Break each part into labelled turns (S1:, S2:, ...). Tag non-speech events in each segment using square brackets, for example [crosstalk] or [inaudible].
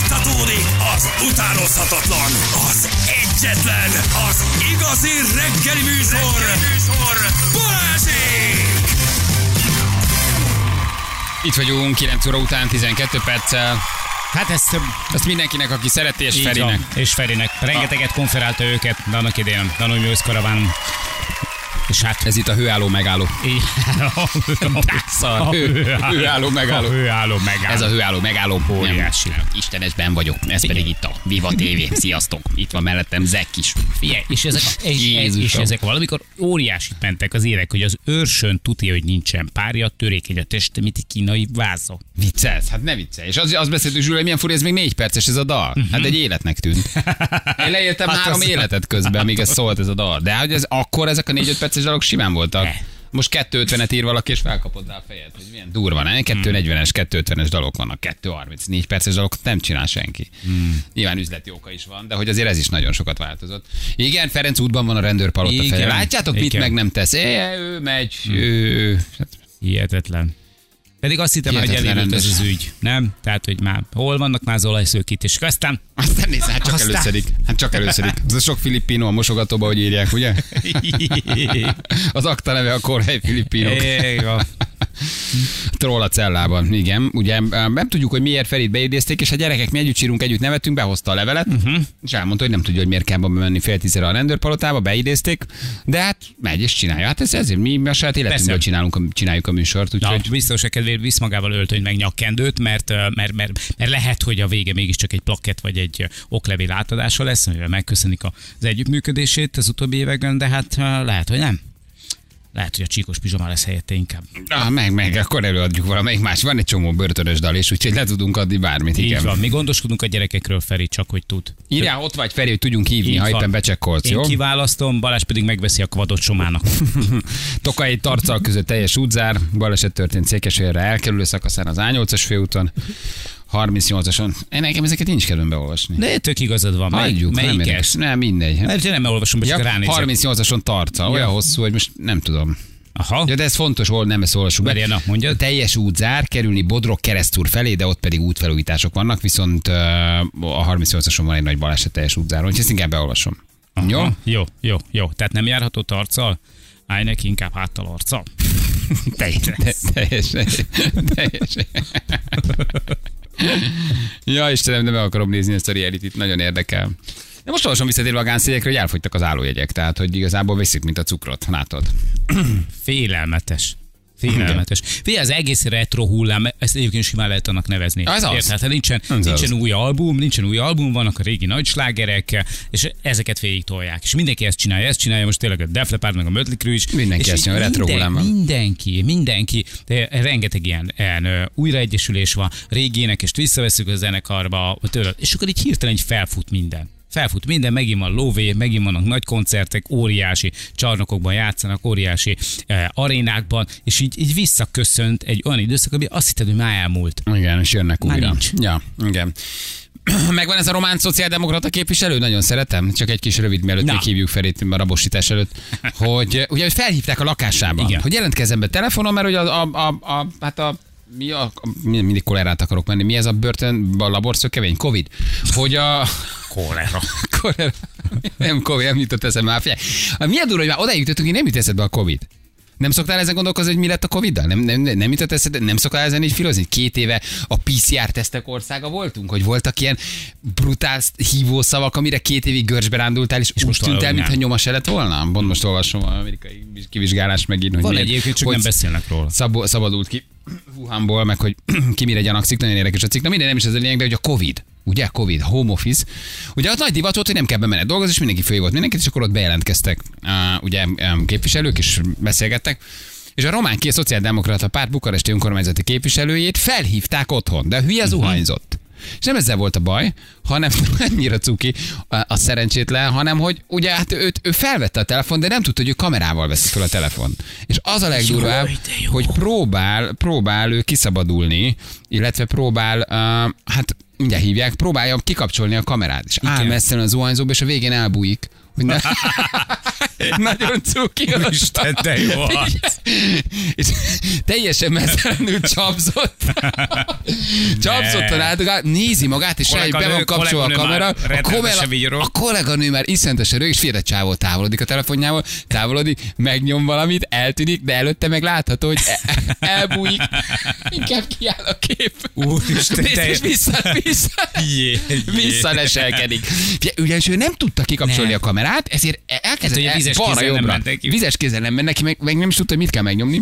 S1: Fújtatódik az utánozhatatlan, az egyetlen, az igazi reggeli műsor, reggeli műsor. Balázsék!
S2: Itt vagyunk, 9 óra után 12 perccel.
S3: Hát ezt ö,
S2: Ezt mindenkinek, aki szereti, és
S3: így
S2: Ferinek.
S3: Van. És Ferinek. Rengeteget konferálta őket de annak idején, Anonymous Karaván. És hát
S2: Ez itt a hőálló megálló.
S3: így. [laughs]
S2: [laughs] Szar, hő- hőálló megálló.
S3: A hőálló megálló.
S2: Ez a hőálló megálló.
S3: Óriási.
S2: Nem, Istenesben vagyok. Ez pedig itt a Viva TV. Sziasztok. Itt van mellettem Zek is.
S3: Figyelj, és ezek, és, és, és
S2: Jézusom.
S3: ezek valamikor óriásit mentek az érek, hogy az őrsön tudja, hogy nincsen párja, törékeny a teste, mint egy kínai váza.
S2: Viccelsz? Hát ne viccelj. És az, azt beszéltünk, Zsül, hogy milyen furé, ez még négy perces ez a dal. Hát egy életnek
S3: [laughs]
S2: tűnt. Én leéltem
S3: Mhm. Hát
S2: három
S3: az-
S2: életet közben, míg ez szólt ez a dal. De hogy ez akkor ezek a négy-öt perces dalok simán voltak.
S3: Ne.
S2: Most 250-et ír valaki, és felkapod rá a fejed. Hogy milyen durva,
S3: Mhm.
S2: nem? 240-es, 250-es dalok vannak, 234 perces dalokat nem csinál senki.
S3: Mhm.
S2: Hmm. Nyilván üzleti oka is van, de hogy azért ez is nagyon sokat változott. Igen, Ferenc útban van a rendőrpalota
S3: Igen.
S2: felé. Látjátok, mit
S3: Igen. Mhm.
S2: meg nem tesz? É, ő megy, ő... Hát
S3: Hihetetlen. Pedig azt hittem, hogy
S2: Hihetetlen
S3: elindult ez
S2: rendes.
S3: az ügy, nem? Tehát, hogy már hol vannak már az olajszőkít, és aztán
S2: Aztán nézd, hát csak
S3: Aztán-
S2: előszedik. Hát csak előszedik. Ez a sok filippino a mosogatóba, hogy írják,
S3: [laughs]
S2: ugye? Az akta neve a korhely filippinok.
S3: É, jó.
S2: Troll a cellában, igen. Ugye ám, nem tudjuk, hogy miért Ferit beidézték, és a gyerekek mi együtt sírunk, együtt nevetünk, behozta a levelet,
S3: Mhm.
S2: uh-huh. és elmondta, hogy nem tudja, hogy miért kell bemenni fél tízre a rendőrpalotába, beidézték, de hát megy és csinálja. Hát ez ezért mi mi a saját életünkből
S3: Persze.
S2: csinálunk, a- csináljuk a műsort,
S3: Na,
S2: úgyhogy...
S3: biztos a kedvéért visz magával öltöny meg nyakkendőt, mert, ö, mert, mert, mert lehet, hogy a vége mégiscsak egy plakett vagy egy ö, oklevél átadása lesz, amivel megköszönik az együttműködését az utóbbi években, de hát ö, lehet, hogy nem. Lehet, hogy a csíkos pizsama lesz helyette inkább.
S2: Ah, meg, meg, akkor előadjuk valamelyik más. Van egy csomó börtönös dal is, úgyhogy le tudunk adni bármit.
S3: Igen.
S2: Igen.
S3: Így van, mi gondoskodunk a gyerekekről, Feri, csak hogy tud.
S2: Írjál, ott vagy Feri, hogy tudjunk hívni,
S3: Így
S2: ha
S3: van.
S2: éppen becsekkolsz,
S3: Én
S2: jó?
S3: kiválasztom, Balázs pedig megveszi a kvadot Somának.
S2: [laughs] Tokai tarcal között teljes útzár, baleset történt Székesfehérre elkerülő szakaszán az A8-as főúton, 38-ason. Én nekem ezeket nincs kedvem beolvasni.
S3: De tök igazad van. Melyik-
S2: Hagyjuk, nem
S3: melyik
S2: érdekes.
S3: ez?
S2: Nem, mindegy.
S3: Mert én nem olvasom, csak
S2: Ja,
S3: ránézek.
S2: 38-ason tarca, olyan
S3: Ja.
S2: hosszú, hogy most nem tudom.
S3: Aha.
S2: Ja, de ez fontos volt, nem ezt olvassuk be.
S3: Mariana, mondjad.
S2: Teljes útzár, kerülni Bodrog keresztúr felé, de ott pedig útfelújítások vannak, viszont ö, a 38-ason van egy nagy baleset teljes útzáron, úgyhogy ezt inkább beolvasom. Jó?
S3: Ha, Jó, jó, jó. Tehát nem járható tarccal? Állj neki inkább háttal arccal.
S2: [laughs] Te- Teljesen. Teljesen. ja, Istenem, de meg akarom nézni ezt a reality nagyon érdekel. De most olvasom visszatérve a gánszégyekre, hogy elfogytak az állójegyek, tehát hogy igazából veszik, mint a cukrot, látod.
S3: Félelmetes. Félelmetes. Figyelj, az egész retro hullám, ezt egyébként simán lehet annak nevezni.
S2: Az az.
S3: Érted? Hát nincsen,
S2: Az az.
S3: nincsen új album, nincsen új album, vannak a régi nagy slágerek, és ezeket végig tolják. És mindenki ezt csinálja, ezt csinálja, most tényleg a Def Leppard, meg a Mötley Crüe is.
S2: Mindenki
S3: és
S2: ezt csinálja, retro hullám van.
S3: Mindenki, mindenki. De rengeteg ilyen, ilyen ö, újraegyesülés van, régi énekest visszaveszük a zenekarba, tőle, és akkor így hirtelen így felfut minden. Felfut minden, megint van lóvé, megint vannak nagy koncertek, óriási csarnokokban játszanak, óriási eh, arénákban, és így, így visszaköszönt egy olyan időszak, ami azt hitted, hogy már elmúlt.
S2: Igen, és jönnek
S3: Már
S2: újra.
S3: nincs.
S2: Ja, igen. [clears throat] Megvan ez a román szociáldemokrata képviselő, nagyon szeretem, csak egy kis rövid mielőtt
S3: Na.
S2: még hívjuk Ferit a rabosítás előtt, hogy eh, ugye hogy felhívták a lakásába,
S3: Igen.
S2: hogy jelentkezzen be telefonon, mert hogy a, a, a, a hát a mi a, mi- mindig kolerát akarok menni, mi ez a börtön, a laborszökevény, Covid, hogy a,
S3: Kolera.
S2: [laughs] Kolera. Nem Covid, nem jutott eszembe már. Figyelj. A mi a durva, hogy már odáig jutottunk, hogy nem jut eszedbe a Covid. Nem szoktál ezen gondolkozni, hogy mi lett a Covid-dal? Nem, nem, nem nem jutott eszedbe, nem szoktál ezen így filozni? Két éve a PCR-tesztek országa voltunk, hogy voltak ilyen brutál hívó szavak, amire két évig görcsbe rándultál, és, és
S3: most
S2: most tűnt el,
S3: valami
S2: mintha
S3: nem.
S2: nyoma se lett volna. Mond most olvasom az amerikai kivizsgálás megint, hogy
S3: Van
S2: milyen-
S3: egyébként, csak
S2: hogy
S3: nem beszélnek róla.
S2: szab- szabadult ki Wuhanból, meg hogy [clears throat] ki mire gyanakszik, nagyon érdekes a cikk. Na minden nem is ez a lényeg, de hogy a Covid, ugye Covid, home office. Ugye az nagy divat volt, hogy nem kell bemenned dolgozni, és mindenki fő volt mindenkit, és akkor ott bejelentkeztek uh, ugye um, képviselők, és beszélgettek. És a román ki, a szociáldemokrata párt bukaresti önkormányzati képviselőjét felhívták otthon, de a
S3: Mhm.
S2: hülye zuhanyzott. És nem ezzel volt a baj, hanem [laughs] annyira cuki a, a szerencsétlen, hanem hogy ugye hát őt, ő felvette a telefon, de nem tudta, hogy ő kamerával veszi fel a telefon. És az a legdurvább,
S3: Jaj, de jó.
S2: hogy próbál, próbál ő kiszabadulni, illetve próbál, uh, hát mindjárt hívják,
S3: [laughs]
S2: próbálja kikapcsolni a kamerát, és áll messze a zuhanyzóba, és a végén elbújik. Hogy ne... [laughs] Nagyon cuki. az.
S3: Isten, de jó az.
S2: És teljesen meztelenül
S3: [laughs]
S2: csapzott. Csapszottan át, nézi magát, és rájuk be van
S3: Kolléganő-
S2: kapcsolva a
S3: kolléganő
S2: kamera.
S3: már
S2: A,
S3: rettenetesen vigyorog.
S2: a kolléganő már iszentesen rög, és félre csávó távolodik a telefonjával, távolodik, megnyom valamit, eltűnik, de előtte meg látható, hogy e- elbújik. Inkább kiáll a kép.
S3: Úristen,
S2: Nézd,
S3: te-
S2: és vissza, vissza,
S3: Jé, jé.
S2: visszaleselkedik. Ugye, ugyanis ő nem tudta kikapcsolni
S3: Nem.
S2: a kamerát, ezért elkezdett
S3: Hát ugye vizes
S2: balra,
S3: kézzel nem
S2: jobbra.
S3: ment neki.
S2: Vizes kézzel nem ment neki, meg, meg nem is tudta, hogy mit kell megnyomni.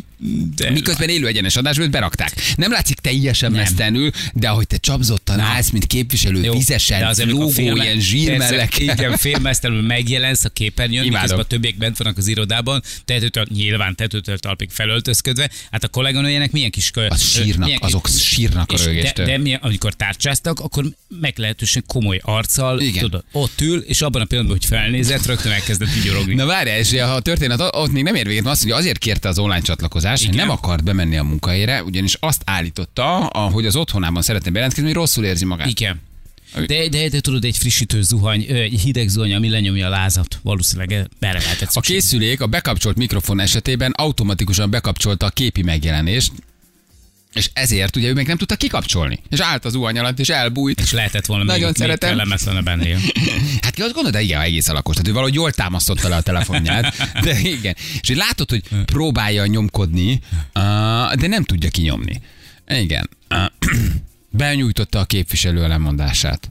S3: De
S2: Miközben élő egyenes adásban őt berakták. Nem látszik teljesen mesztelenül, de ahogy te csapzottan állsz, mint képviselő,
S3: Jó, de
S2: vizesen,
S3: azért, amikor
S2: lógó,
S3: félme-
S2: ilyen
S3: persze,
S2: zsírmellek.
S3: Igen, félmeztelenül megjelensz a képernyőn,
S2: Imádom.
S3: miközben a többiek bent vannak az irodában, tetőtől, nyilván tetőtől talpig felöltözködve. Hát a kolléganőjének milyen kis kö...
S2: Az sírnak,
S3: milyen
S2: azok sírnak a
S3: és de,
S2: rögéstől.
S3: de mi, amikor tárcsáztak, akkor meglehetősen komoly arccal,
S2: Igen.
S3: tudod, ott ül, és abban a pillanatban, hogy felnézett, rögtön elkezdett vigyorogni.
S2: Na várj, és ha a történet ott még nem ér véget, mert azt mondja, azért kérte az online csatlakozást, hogy
S3: Igen.
S2: nem akart bemenni a munkahelyére, ugyanis azt állította, hogy az otthonában szeretne bejelentkezni, hogy rosszul érzi magát.
S3: Igen. De, de, de, tudod, egy frissítő zuhany, ö, egy hideg zuhany, ami lenyomja a lázat, valószínűleg eh, erre lehetett
S2: A
S3: szükség.
S2: készülék a bekapcsolt mikrofon esetében automatikusan bekapcsolta a képi megjelenést, és ezért ugye ő még nem tudta kikapcsolni. És állt az uhany alatt, és [laughs] elbújt.
S3: És lehetett volna
S2: Nagyon
S3: még, még
S2: szeretem.
S3: kellemetlenebb ennél.
S2: Hát ki azt gondolod, de igen, egész alakos. Tehát ő valahogy jól támasztotta le a telefonját. De igen. És így látod, hogy próbálja nyomkodni, á, de nem tudja kinyomni. Igen. Á, [clears throat] Benyújtotta a képviselő lemondását.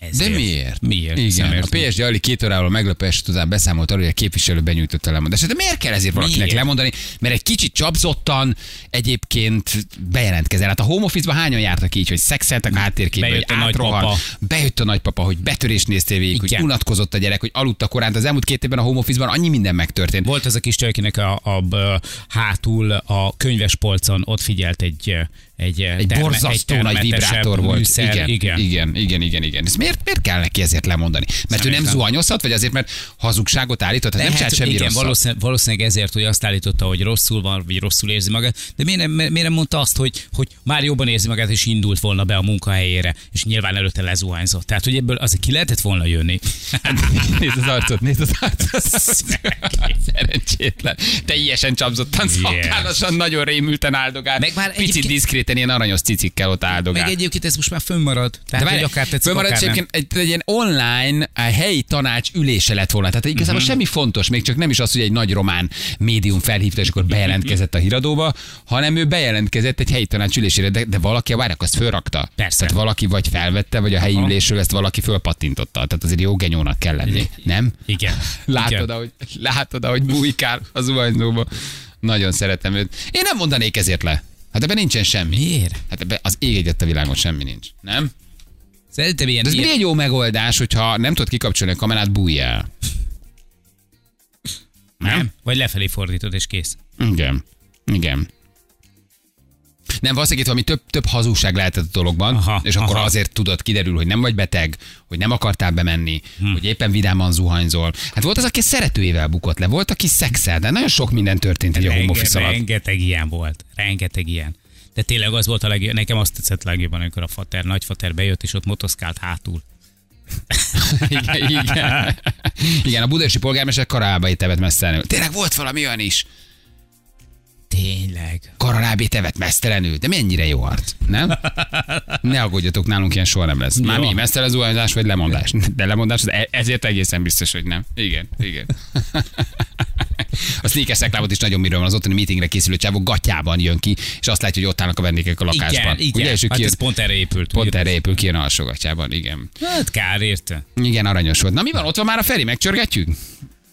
S2: De
S3: Ezért.
S2: miért?
S3: Miért?
S2: Igen.
S3: Szemért.
S2: A PSG alig két órával meglepés után beszámolt arról, hogy a képviselő benyújtotta a lemondását. De miért kell ezért valakinek
S3: Miért?
S2: lemondani? Mert egy kicsit csapzottan egyébként bejelentkezel. Hát a home office-ban hányan jártak így, hogy szexeltek háttérképbe, hogy
S3: Bejött a
S2: átrohan,
S3: nagypapa.
S2: bejött a nagypapa, hogy betörést néztél végig, hogy
S3: Igen.
S2: unatkozott a gyerek, hogy aludt a korán. Az elmúlt két évben a home office-ban annyi minden megtörtént.
S3: Volt az a kis csaj, akinek a, a, a, hátul a könyves polcon ott figyelt egy ö, egy, ö,
S2: Egy
S3: terme-
S2: borzasztó
S3: egy
S2: nagy
S3: termetesebb
S2: vibrátor volt.
S3: Műszer, igen, igen. igen.
S2: igen, igen, igen, igen. Ez miért, miért kell neki ezért lemondani? Mert ő nem
S3: értem.
S2: zuhanyozhat, vagy azért, mert hazugságot állított, hát nem csinált semmi
S3: igen,
S2: rosszat.
S3: valószínűleg, valószínűleg, ezért, hogy azt állította, hogy rosszul van, vagy rosszul érzi magát, de miért nem, miért nem mondta azt, hogy, hogy már jobban érzi magát, és indult volna be a munkahelyére, és nyilván előtte lezuhányzott. Tehát, hogy ebből azért ki lehetett volna jönni.
S2: Nézd az arcot, nézd az arcot. [laughs] Szerencsétlen. Teljesen csapzottan, szakállosan, nagyon rémülten áldogál.
S3: Meg már
S2: Picit
S3: egyébként-
S2: diszkréten ilyen aranyos cicikkel ott áldogál.
S3: [laughs] Meg egyébként ez most már fönnmarad. Tehát, hogy akár tetszik,
S2: fönnmaradt
S3: akár nem.
S2: egyébként egy, egy, ilyen online a helyi tanács ülése lett volna. Tehát igazából
S3: Mhm.
S2: uh-huh. semmi fontos, még csak nem is az, hogy egy nagy román médium felhívta, és akkor bejelentkezett a híradóba, hanem ő bejelentkezett egy helyi tanács ülésére, de, de valaki a várjak, azt fölrakta.
S3: Persze.
S2: Tehát valaki vagy felvette, vagy a helyi
S3: Aha.
S2: ülésről ezt valaki fölpattintotta. Tehát azért jó genyónak kell lenni, nem?
S3: Igen.
S2: Látod,
S3: Igen.
S2: ahogy, látod, ahogy bújkál az uhajzóba. Nagyon szeretem őt. Én nem mondanék ezért le. Hát ebben nincsen semmi.
S3: Miért?
S2: Hát ebben az ég egyet a világon semmi nincs. Nem?
S3: Szerintem ilyen,
S2: De ez
S3: ilyen,
S2: miért egy jó megoldás, hogyha nem tudod kikapcsolni a kamerát, bújj el.
S3: nem? Vagy lefelé fordítod, és kész.
S2: Igen. Igen. Nem, valószínűleg itt valami több, több hazugság lehetett a dologban, aha,
S3: Aha,
S2: és akkor aha.
S3: aha.
S2: azért tudod, kiderül, hogy nem vagy beteg, hogy nem akartál bemenni, hm. hogy éppen vidáman zuhanyzol. Hát volt az, aki szeretőjével bukott le, volt, aki szexel, de nagyon sok minden történt egy a home
S3: Renge-
S2: office alatt.
S3: Rengeteg ilyen volt, rengeteg ilyen. De tényleg az volt a legjobb, nekem azt tetszett legjobban, amikor a fater, nagyfater bejött, és ott motoszkált hátul.
S2: [laughs] igen, igen. igen, a budapesti polgármester karalába étevet mesztelenül. Tényleg volt valami olyan is.
S3: Tényleg.
S2: Karalábé tevet mesztelenül, de mennyire jó arc, nem? Ne aggódjatok, nálunk ilyen soha nem lesz. Már
S3: Jó.
S2: mi, mesztelenzuhányzás vagy lemondás? De lemondás, de ezért egészen biztos, hogy nem. Igen, igen. A sneaker szeklámot is nagyon miről van, az ottani meetingre készülő csávó gatyában jön ki, és azt látja, hogy ott állnak a vendégek a lakásban.
S3: Igen, igen.
S2: Ugye, és ő
S3: hát
S2: kijön,
S3: ez pont erre épült.
S2: pont
S3: ugye?
S2: erre épül ki alsógatjában, igen.
S3: Hát kár érte.
S2: Igen, aranyos volt. Na mi van, ott van már a Feri, megcsörgetjük?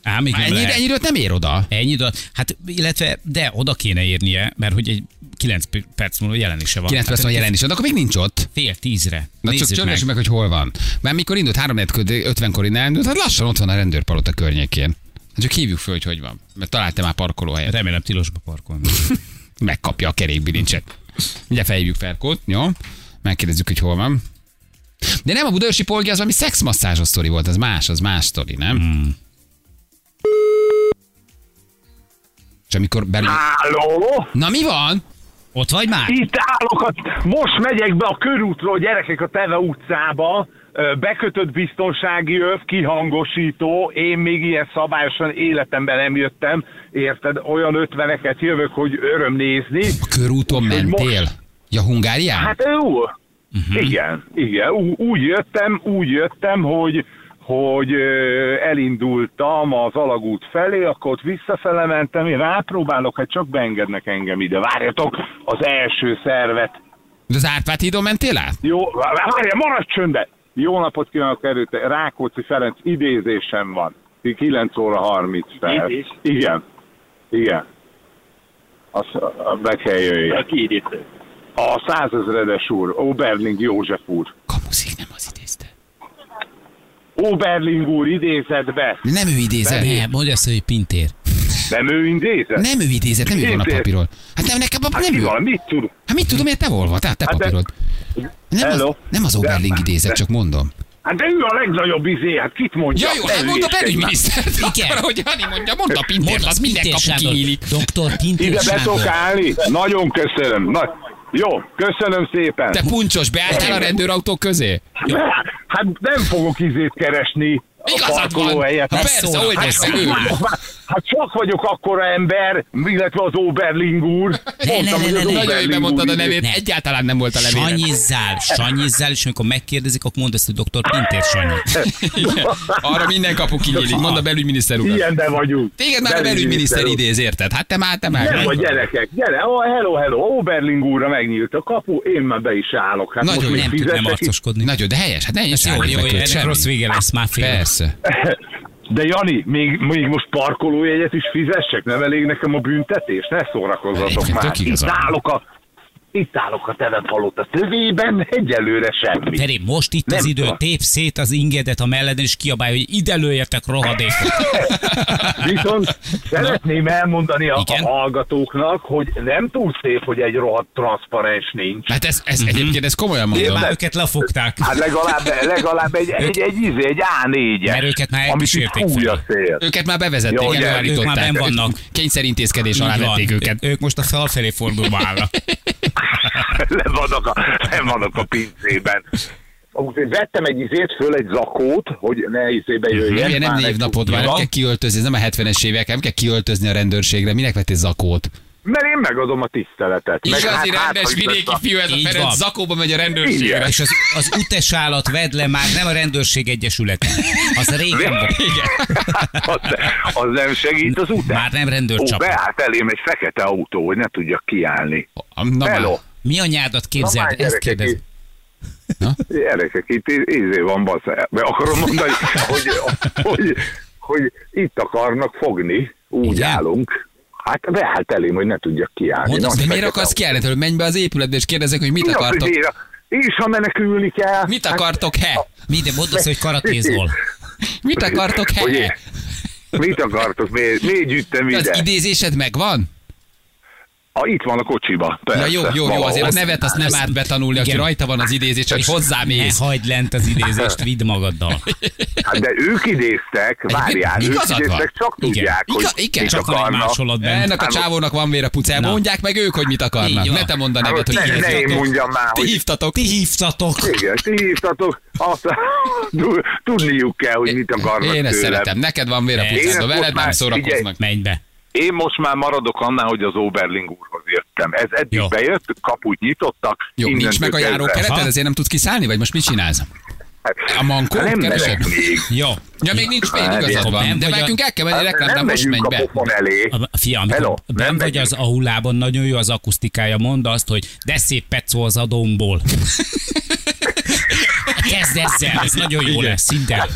S3: Á, még
S2: Már
S3: nem
S2: Ennyi,
S3: lehet.
S2: ennyiről nem ér oda.
S3: Ennyi oda. Hát, illetve, de oda kéne érnie, mert hogy egy 9 perc múlva jelenése van.
S2: 9 perc van
S3: Hát,
S2: jelen is, de akkor még nincs ott.
S3: Fél tízre.
S2: Na csak
S3: Nézzük
S2: csörgessük meg. meg, hogy hol van. Már mikor indult, 3 50 kor innen indult, hát lassan ott van a rendőrpalota környékén. Hát csak hívjuk föl, hogy hogy van. Mert találtam már parkolóhelyet.
S3: Remélem tilosba parkolni.
S2: [laughs] Megkapja a kerékbilincset. Mindjárt felhívjuk Ferkót, jó? Megkérdezzük, hogy hol van. De nem a budaörsi polgi, az valami szexmasszázsos sztori volt, az más, az más sztori, nem? Hmm. És amikor belül...
S4: Háló?
S2: Na mi van?
S3: Ott vagy már?
S4: Itt állok, a- most megyek be a körútról, gyerekek a Teve utcába, ö, bekötött biztonsági öv, kihangosító, én még ilyen szabályosan életemben nem jöttem, érted, olyan ötveneket jövök, hogy öröm nézni.
S2: A körúton
S4: Úgyhogy
S2: mentél?
S4: most-
S2: Ja, Hungárián?
S4: Hát jó, igen, igen, Ú- úgy jöttem, úgy jöttem, hogy hogy ö, elindultam az alagút felé, akkor ott visszafele mentem, én rápróbálok, hát csak beengednek engem ide. Várjatok az első szervet,
S2: De az Árpád hídon mentél át?
S4: Jó, várjál, maradj csöndbe! Jó napot kívánok, erőt, Rákóczi Ferenc idézésem van. 9 óra 30 perc.
S5: Idéz?
S4: Igen, igen. Azt a- be kell jöjjön.
S5: Aki idézte.
S4: A százezredes úr, Oberling József úr.
S2: Kamuszik nem az idézte.
S4: Oberling úr idézett be,
S2: Nem ő idézett.
S3: Nem, mondja azt, hogy Pintér.
S4: nem ő idézett?
S2: Nem ő idézett, nem ő van a
S4: Idézett.
S2: papíron. Hát nem, nekem a-
S4: Hát
S2: nem
S4: ki
S2: ő.
S4: van, mit tud?
S2: Hát mit tudom, miért te hol vagy? Tehát te
S4: Hát de-
S2: papírod. Nem az,
S4: Hello.
S2: nem az Oberling idézett, csak mondom.
S4: Hát de ő a legnagyobb izé, hát kit mondja?
S2: Ja, jó, elmondta a belügyminisztert.
S3: Igen.
S2: [laughs] Igen. Akkor, ahogy Hani mondja, mondta Pintér,
S3: Mondd
S2: az minden kapu kinyílik.
S3: Doktor Pintér
S4: Ide be tudok
S3: Sándor.
S4: állni? Nagyon köszönöm. Na, jó, köszönöm szépen.
S2: Te puncsos, beálltál a rendőrautó közé?
S4: Hát nem fogok izét keresni. a
S2: Igazad
S4: parkoló
S2: van.
S4: helyett.
S2: Ha
S4: Hát
S2: persze,
S4: szóval.
S2: hogy
S4: Hát
S2: lesz,
S4: csak
S2: ő.
S4: vagyok már- Hát csak vagyok akkora ember, illetve az Oberling úr.
S3: ne, ne,
S4: hogy
S3: ne,
S4: az
S3: ne,
S2: Nagyon jól
S4: Oberling
S2: bemondtad
S4: úr
S2: a nevét,
S3: Nem.
S2: egyáltalán nem volt a levére.
S3: Sanyizzál, sanyizzál, és amikor megkérdezik, akkor mondd ezt, hogy doktor Pintér
S4: [laughs]
S3: Sanyi.
S2: Arra minden kapu kinyílik, mond a belügyminiszter
S4: ide-
S2: urat.
S4: Ilyenben vagyunk.
S2: Téged már a belügyminiszter idéz, érted? Hát te már, te már.
S4: Nem vagy gyerekek, gyere, oh, hello, hello, Oberling úrra megnyílt a kapu, én már be is állok. Hát
S2: Nagyon
S4: most még
S3: Nem tud nem
S4: fizetek is.
S3: arcoskodni.
S2: Nagyon, de helyes, hát ne is
S3: Ez jó, jó, jó, ennek rossz vége lesz, már fél.
S2: Persze.
S4: De Jani, még, még most parkolójegyet is fizessek? Nem elég nekem a büntetés? Ne szórakozzatok
S2: Egyébként
S4: már.
S2: tök
S4: Itt
S2: igazad van.
S4: állok a, itt állok a telephalotta tövében, egyelőre semmi.
S3: Feri, most itt
S4: Nem
S3: az idő,
S4: tudom.
S3: tép szét az ingedet a melleden, és kiabálj, hogy ide lőjetek rohadékot.
S4: [laughs] Viszont szeretném elmondani a,
S3: Igen?
S4: a hallgatóknak, hogy nem túl szép, hogy egy rohadt transzparens nincs.
S2: Hát ez, ez
S4: Mhm.
S2: egyébként ez komolyan mondom.
S3: Már őket lefogták.
S4: Hát legalább, legalább egy, egy, egy, izé, egy A4-et.
S3: Mert őket már
S4: amit itt
S3: elkísérték
S4: fúj
S3: fel.
S4: a szél.
S2: Őket már bevezették,
S4: Jó,
S2: Jó,
S4: ugye,
S2: előállították.
S3: ők már benn vannak.
S2: Kényszerintézkedés alá
S3: Így van.
S2: vették őket.
S3: Ők most a felfelé fordulva állnak.
S4: nem vannak a, nem vannak a pincében. Amúgy vettem egy izét, föl egy zakót, hogy ne izébe jöjjön.
S2: Ugye nem
S4: Már
S2: Mhm. névnapod van, nem
S4: Ja.
S2: kell kiöltözni, ez nem a 70-es évek, nem kell kiöltözni a rendőrségre, minek vettél zakót?
S4: Mert én megadom a tiszteletet. hát-
S2: Igazi rendes
S4: hátra jutott
S2: vidéki fiú ez a
S3: Így
S2: Ferenc,
S3: van.
S2: zakóba megy a rendőrségre.
S4: Igen.
S3: És az, az utesállat vedd le már nem a rendőrség egyesülete. Az régen volt.
S4: hát, Az, az nem segít az után.
S3: Már nem
S4: Ó,
S3: rendőrcsapat.
S4: beállt elém egy fekete autó, hogy ne tudjak kiállni.
S2: Na, már.
S4: Hello.
S3: Mi anyádat képzeld? Ezt kérdez.
S4: itt- [laughs] Gyerekek, itt í- ízé van, basz. Be akarom mondani, hogy, hogy, hogy itt akarnak fogni, úgy
S3: Igen?
S4: állunk. Hát beállt elém, hogy ne tudjak kiállni.
S3: Mondd
S4: Nagy
S3: azt,
S2: De miért
S4: fekete
S2: akarsz kiállni? tőle? Menj be az épületbe és kérdezzek, hogy mit
S4: Mi az, hogy hát-
S2: akartok.
S4: miért? És ha menekülni kell.
S2: Mit akartok, he?
S3: Minden mondd azt, hogy
S4: [laughs]
S3: karatézol.
S2: Mit akartok,
S4: Hogy
S2: he?
S4: én- Mit akartok? Miért, miért gyűjtem
S2: De
S4: ide?
S2: Az idézésed megvan?
S4: A, itt van a kocsiba. Persze,
S2: Ja, jó, jó, jó,
S4: valahol.
S2: azért a nevet azt nem árt betanulni, aki
S3: Igen.
S2: rajta van az idézés, hogy
S3: Ne
S2: hozzámész.
S3: hagyd lent az idézést, vidd magaddal.
S4: Hát de ők idéztek, várjál, ők
S2: igazad van.
S4: idéztek, csak
S2: Igen.
S4: tudják,
S2: Iga-
S4: hogy
S2: igen,
S4: mit
S3: Csak van egy
S4: akarnak.
S3: másolat benne.
S4: Hát-
S2: Ennek a csávónak van vére pucel,
S3: Na.
S2: mondják meg ők, hogy mit akarnak.
S3: Így van.
S2: Ne te mondd a
S4: Hát
S2: nevet, hogy
S4: ne,
S2: így
S4: ne én
S2: hívtatok.
S4: mondjam már,
S2: Ti
S4: hogy
S2: [laughs] hívtatok.
S3: Ti hívtatok.
S4: igen, ti hívtatok, azt [laughs] tu- tudniuk kell, hogy mit akarnak
S2: Én ezt
S4: tőlem.
S2: szeretem. Neked van vére
S3: Én
S2: pucel,
S4: ezt
S2: de veled
S4: most
S2: nem
S4: már-
S2: szórakoznak.
S3: Menj be.
S4: Én most már maradok annál, hogy az Oberling úrhoz jöttem. Ez eddig
S3: Jó.
S4: bejött, kaput nyitottak.
S2: Jó, nincs
S4: innentől
S2: meg a
S4: kezdve.
S2: járókereted,
S3: Aha.
S2: ezért nem tudsz kiszállni, vagy most mit csinálsz? A mankót
S4: Nem
S2: keresed?
S4: merek még.
S3: Jó.
S2: Ja, még nincs fél,
S4: Várjál.
S2: igazad
S3: Akkor
S2: van.
S3: nem
S2: De
S3: vagy a-
S2: nekünk el kell menni
S4: Hát
S2: reklámra,
S4: nem
S2: most menj
S4: megyünk a
S2: be.
S4: pofon elé.
S3: A fiam,
S4: Hello,
S3: ben vagy
S4: nem megyünk.
S3: az aulában, nagyon jó az akusztikája, mondd azt, hogy de szép pecó az
S2: [laughs]
S3: adomból. Kezd ezzel, ez nagyon jó lesz, szinte.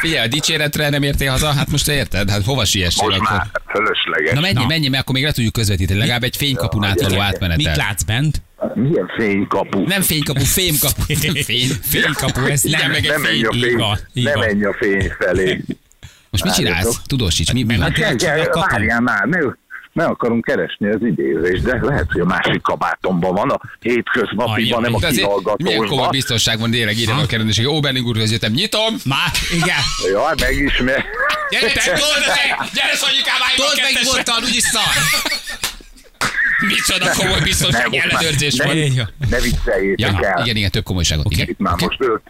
S2: Figyelj, a dicséretre nem értél haza, hát most érted? Hát hova siessél
S4: Most
S2: akkor?
S4: már fölösleges.
S2: Na menjél,
S3: Na.
S2: menjél, mert akkor még le tudjuk közvetíteni. Legalább egy fénykapun átvaló
S3: Mit
S2: átmenetel.
S3: látsz bent?
S4: Milyen fénykapu?
S2: Nem fénykapu, fémkapu.
S3: [laughs]
S2: Nem Fény,
S3: Fénykapu, ez
S2: Igen,
S3: nem.
S2: meg egy
S4: Ne menj a
S3: így
S4: fény,
S3: van, így
S4: ne
S3: van.
S4: menj a fény felé.
S2: Most mit csinálsz? Tudósíts, mi, mi van?
S4: Hát kell, kell,
S3: kapu.
S4: várjál már, ne, ne akarom keresni az idézést, de lehet, hogy a másik kabátomban van, a
S3: Ajaj,
S4: hétköznapiban, nem a
S2: De azért Milyen komoly
S4: kihallgatóban.
S2: biztonság van, tényleg írja a kerendőség. Oberling úrhoz jöttem, nyitom!
S3: Már, igen.
S4: Jaj, megismer.
S2: Gyere, te, told meg! Gyere, Szanyikám, állj
S3: Told meg voltál, úgyis szar.
S2: Micsoda komoly biztonsági
S4: Ne,
S2: ellenőrzés
S4: ne,
S2: van.
S3: Így van.
S4: Ne vicceljétek
S2: Ja,
S4: el.
S2: igen, igen, több komolyságot. Okay.
S4: Itt már most ölt,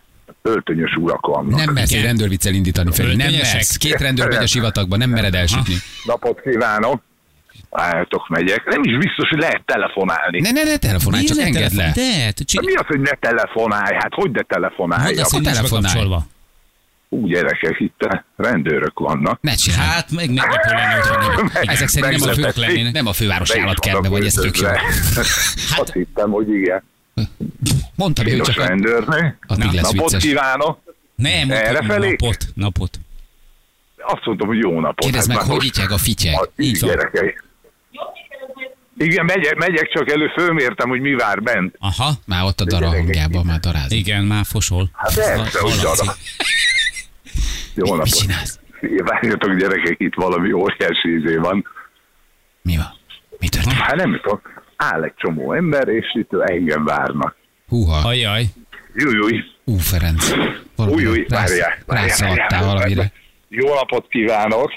S4: öltönyös urak vannak.
S2: Nem mersz egy
S3: Igen.
S2: rendőrviccel indítani fel. Nem
S3: Öltönyösek.
S2: mersz. Két rendőr megy a sivatagba, nem mered elsütni.
S4: Napot kívánok. Álljatok, megyek. Nem is biztos, hogy lehet telefonálni.
S2: Ne, ne, ne telefonálj, csak engedd le.
S3: De, te
S4: Hát
S3: csinálj.
S4: Mi az, hogy ne telefonálj? Hát hogy ne
S3: Mondd
S4: telefonálja?
S3: azt, hogy nincs
S2: telefonálj.
S3: bekapcsolva.
S4: Úgy gyerekek, itt a rendőrök vannak.
S2: Ne csinálj.
S3: Hát, meg meglepő lenne, hogy van
S4: Meg-
S2: Ezek szerint nem a,
S4: meglepették.
S2: fő,
S3: lennének.
S2: nem a főváros
S4: Be is
S2: állatkertbe
S4: vannak
S2: vagy, ez tök jó.
S4: [laughs] öltözve. Azt hittem, hogy igen.
S2: Mondtam, hogy
S4: Piros
S2: csak a-
S4: rendőrnek.
S2: addig lesz
S4: Napot
S2: vicces.
S4: kívánok.
S3: Nem,
S4: Erre
S3: mondtam,
S4: felé?
S3: napot, napot.
S4: Azt mondom, hogy jó napot.
S2: Kérdezd meg,
S4: Hát már
S2: hogy
S4: most-
S2: ittyeg a fityeg.
S4: A
S2: Így van.
S4: gyerekei. Igen, megyek, megyek csak elő, fölmértem, hogy mi vár bent.
S3: Aha,
S2: Már ott a dara
S4: Gyerekek,
S2: hangjában, már darázik.
S3: igen, már fosol.
S4: Hát persze,
S3: Hal-
S4: hogy
S3: hallatszik.
S4: dara. Jó
S2: Mit
S4: napot.
S2: csinálsz?
S4: Várjatok gyerekek, itt valami óriási izé van.
S2: Mi van? Mi történt?
S4: Hát nem tudom, áll egy csomó ember, és itt engem várnak.
S2: Húha,
S3: Ajaj.
S4: Júj, júj,
S2: ú Ferenc.
S4: új,
S2: Valami
S4: új,
S2: rász-
S4: várjál. várjál,
S2: Rászaladtál
S4: várjál,
S2: valamire.
S4: várjál. Jó napot kívánok.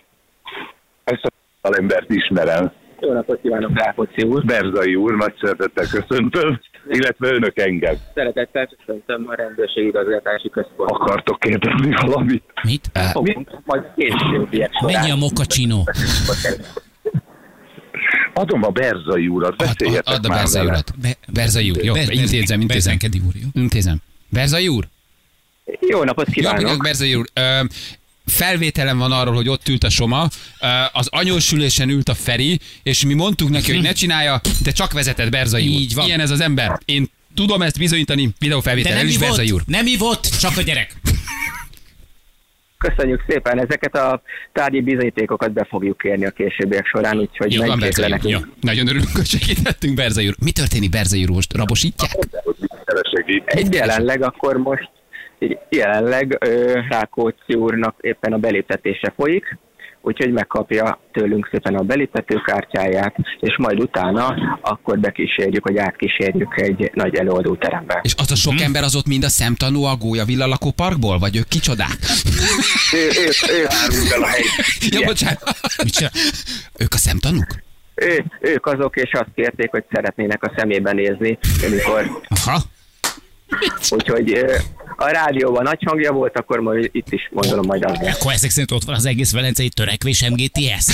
S4: Ezt a embert ismerem.
S5: Jó napot kívánok, Rákóczi úr!
S4: Berzai úr, nagy szeretettel köszöntöm, illetve önök engem.
S5: Szeretettel köszöntöm a rendőrség igazgatási központ.
S4: Akartok kérdezni valamit?
S3: Mit?
S5: Fogunk majd későbbiek során.
S3: Mennyi a mokacsinó?
S4: Adom a Berzai urat,
S2: Add-
S4: beszéljetek
S2: Add a
S4: már
S2: Berzai
S4: vele.
S2: urat.
S3: Be-
S2: Berzai úr, jó,
S3: Ber- Ber-
S2: intézem, intézem.
S3: Berzenkedi úr, jó?
S2: Intézem. Berzai úr?
S5: Jó napot
S2: Jó
S5: kívánok!
S2: napot, Berzai úr. Ö, felvételem van arról, hogy ott ült a Soma, ö, az anyósülésen ült a Feri, és mi mondtuk neki, hogy ne csinálja, de csak vezetett Berzai úr.
S3: Így van.
S2: Ilyen ez az ember. Én tudom ezt bizonyítani
S3: De
S2: videófelvétellel
S3: nem
S2: is, Berzai úr.
S3: ivott, nem ivott, csak a gyerek.
S5: Köszönjük szépen! Ezeket a tárgyi bizonyítékokat be fogjuk kérni a későbbiek során, úgyhogy
S2: Jó
S5: ne
S2: van,
S5: kétle
S2: Berzai úr. Jó.
S5: nekünk.
S2: Nagyon örülünk, hogy segítettünk, Berzai úr. Mi történik, Berzai úr? Most rabosítják?
S4: Keresek itt.
S5: Egy jelenleg akkor most így jelenleg ö, Rákóczi úrnak éppen a beléptetése folyik, úgyhogy megkapja tőlünk szépen a beléptetőkártyáját, és majd utána akkor bekísérjük, hogy átkísérjük egy nagy előadóterembe.
S2: És az a
S3: Hm?
S2: sok ember az ott mind a szemtanú a Gólya villalakó parkból? Vagy ők kicsodák?
S4: Ő, ő, ő árul el a helyet.
S2: Ja, bocsánat.
S3: Mit csinál?
S2: Ők a szemtanúk?
S5: Ő, ők azok, és azt kérték, hogy szeretnének a szemébe nézni, amikor,
S3: Aha.
S5: úgyhogy ö, a rádióban nagy hangja volt, akkor majd itt is gondolom majd azért.
S3: Akkor ezek szerint ott van az egész velencei törekvés MGTS.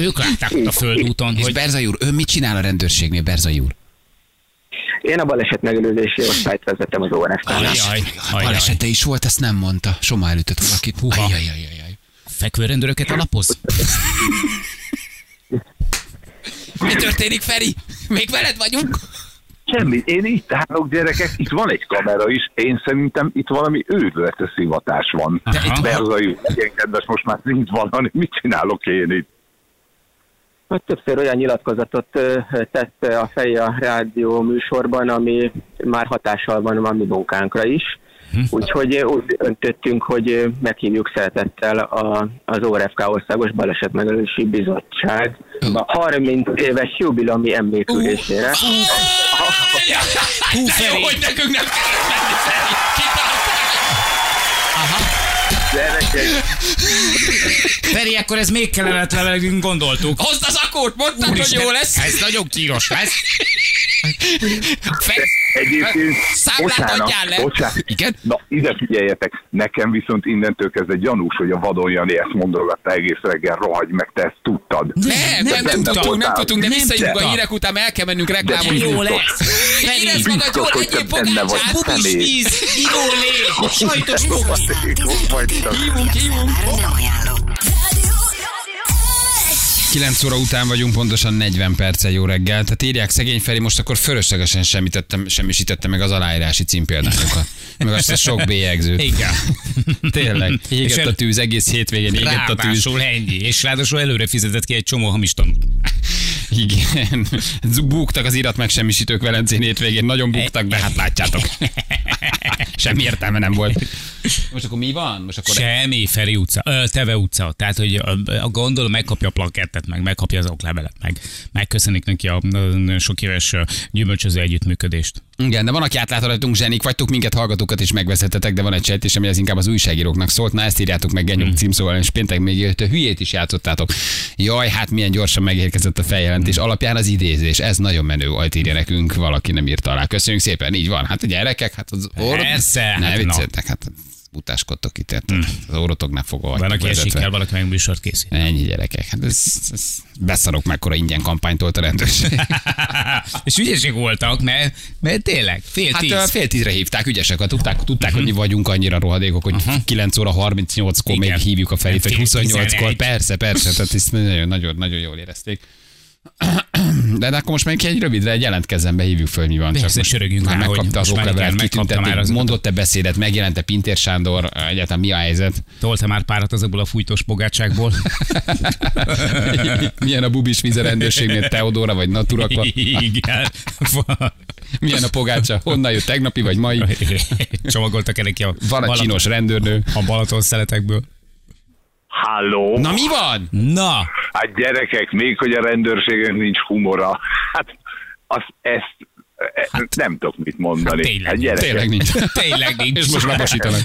S3: Ők látták ott a földúton,
S2: És
S3: hogy
S2: Berzai úr, ön mit csinál a rendőrségnél, Berzai úr?
S5: Én a baleset megelőzési osztályt vezetem az órásnál.
S3: Ajaj, ajaj.
S2: Balesete is volt, ezt nem mondta. Soma elütött valakit. Húha. Ajaj,
S3: fekvő
S2: [laughs]
S3: rendőröket alapoz.
S2: Mi történik, Feri? Még veled vagyunk?
S4: Semmi, én itt állok, gyerekek, itt van egy kamera is, én szerintem itt valami őrületes szivatás van.
S3: De itt-
S4: Berzai úr, igen, kedves, most már nincs valami, mit csinálok én itt?
S5: Hát többször olyan nyilatkozatot ö, tett ö, a feje a rádió műsorban, ami már hatással van a mi munkánkra is. Úgyhogy ö, úgy döntöttünk, hogy ö, meghívjuk szeretettel a, az ORFK Országos Baleset Megelőzési Bizottság 30 éves jubilomi emlékülésére.
S2: Hú,
S3: Feri.
S2: hogy nekünk nem kell menni, Feri. Kitalálták.
S4: Gyerekek,
S3: Feri, akkor ez még kellemetlenebb, mint gondoltuk.
S2: Hozd az akót, mondtad, hogy
S3: Úristen,
S2: jó lesz.
S3: Ez nagyon kínos lesz.
S2: Feri,
S4: egyébként,
S2: Számlát
S4: bocsánat,
S2: adjál le.
S4: bocsánat,
S2: Igen?
S4: Na, ide figyeljetek, nekem viszont innentől kezdve gyanús, hogy a Vadon Jani ezt mondogatta egész reggel, rohagy meg, te ezt tudtad.
S2: Nem, nem, nem
S4: tudtam.
S2: tudtunk, nem tudtunk, de
S3: Nem
S2: visszajövünk a
S3: tudtam.
S2: hírek után, mert el kell mennünk reklámozni.
S3: Jó
S4: biztos.
S3: lesz.
S2: Érezd
S3: Feri,
S2: magad jól,
S4: Biztos, hogy
S2: egyéb
S4: te benne vagy,
S2: pogácsát,
S3: bubis
S4: Feri.
S3: víz, igó lé, sajtos bubis.
S6: Hívunk, hívunk. Nem ajánlott.
S2: 9 óra után vagyunk, pontosan 40 perce jó reggel. Tehát írják szegény Feri, most akkor fölöslegesen semmitettem, semmisítette meg az aláírási címpéldányokat. Meg azt a sok bélyegzőt.
S3: Igen.
S2: Tényleg. [laughs]
S3: És
S2: Égett
S3: el-
S2: a tűz, egész hétvégén égett a tűz.
S3: Ráadásul ennyi, és ráadásul előre fizetett ki egy csomó hamis tanút.
S2: [laughs] Igen. Buktak az irat megsemmisítők Velencén hétvégén. Nagyon buktak, de hát látjátok. [laughs] Semmi értelme nem volt. Most akkor mi van? Most akkor
S3: Semmi, Feri utca, ö, Teve utca. Tehát, hogy a, a gondolom megkapja a plakettet, meg megkapja az oklevelet, meg megköszönik neki a, a, a sok éves ö, gyümölcsöző együttműködést.
S2: Igen, de van, aki átlát rajtunk zsenik, vagytok minket hallgatókat is megveszettetek, de van egy sejtés, ami az inkább az újságíróknak szólt. Na ezt írjátok meg
S3: Hmm.
S2: Genyó címszóval, és péntek még jött, a hülyét is játszottátok. Jaj, hát milyen gyorsan megérkezett a feljelentés. Alapján az idézés, ez nagyon menő, ajt írja nekünk, valaki nem írta alá. Köszönjük szépen, így van. Hát a gyerekek, hát az orr...
S3: Persze,
S2: ne
S3: hát Hmm.
S2: vicceltek, hát utáskodtok itt, érted? Az orrotognál fogva
S3: Van,
S2: vagytok
S3: aki esik
S2: vezetve.
S3: el, valaki meg műsort
S2: [laughs]
S3: készít.
S2: Ennyi gyerekek, hát ez, ez beszarok, mekkora ingyen kampányt tolt a
S3: [laughs]
S2: rendőrség.
S3: És ügyesek voltak, mert, mert tényleg, fél
S2: Hát
S3: tíz.
S2: ö, fél tízre hívták, ügyesek, hát tudták, tudták hogy mi vagyunk annyira rohadékok, hogy 9 óra 38-kor még
S3: Uh-huh. Igen.
S2: hívjuk a felét, vagy
S3: Fél
S2: 28-kor.
S3: 11.
S2: Persze, persze, tehát ezt nagyon, nagyon, nagyon jól érezték. De, de akkor most még egy rövidre egy jelentkezembe hívjuk föl, mi van.
S3: Persze, sörögjünk
S2: már
S3: rá, hogy
S2: megkapta az
S3: most már
S2: oklevelet,
S3: igen, megkapta már
S2: kitüntették,
S3: azokat.
S2: mondott-e beszédet, megjelente Pintér Sándor, egyáltalán mi a
S3: [laughs]
S2: helyzet?
S3: Tolta már párat azokból a fújtós
S2: [laughs]
S3: bogátságból.
S2: Milyen a bubis víz a rendőrségnél, Teodóra vagy Naturakva?
S3: Igen.
S2: Milyen a pogácsa? Honnan jött tegnapi vagy mai?
S3: [laughs] Csomagoltak el neki a,
S2: Van a
S3: Balaton-
S2: csinos rendőrnő.
S3: a Balaton szeletekből.
S4: Halló!
S2: Na mi van?
S3: Na,
S4: Hát gyerekek, még hogy a rendőrségnek nincs humora. Hát az, ezt e- nem tudok mit mondani.
S3: Hát tényleg,
S4: hát gyerekek,
S2: Hát- Tényleg nincs.
S3: tényleg nincs.
S2: És most rabasítanak.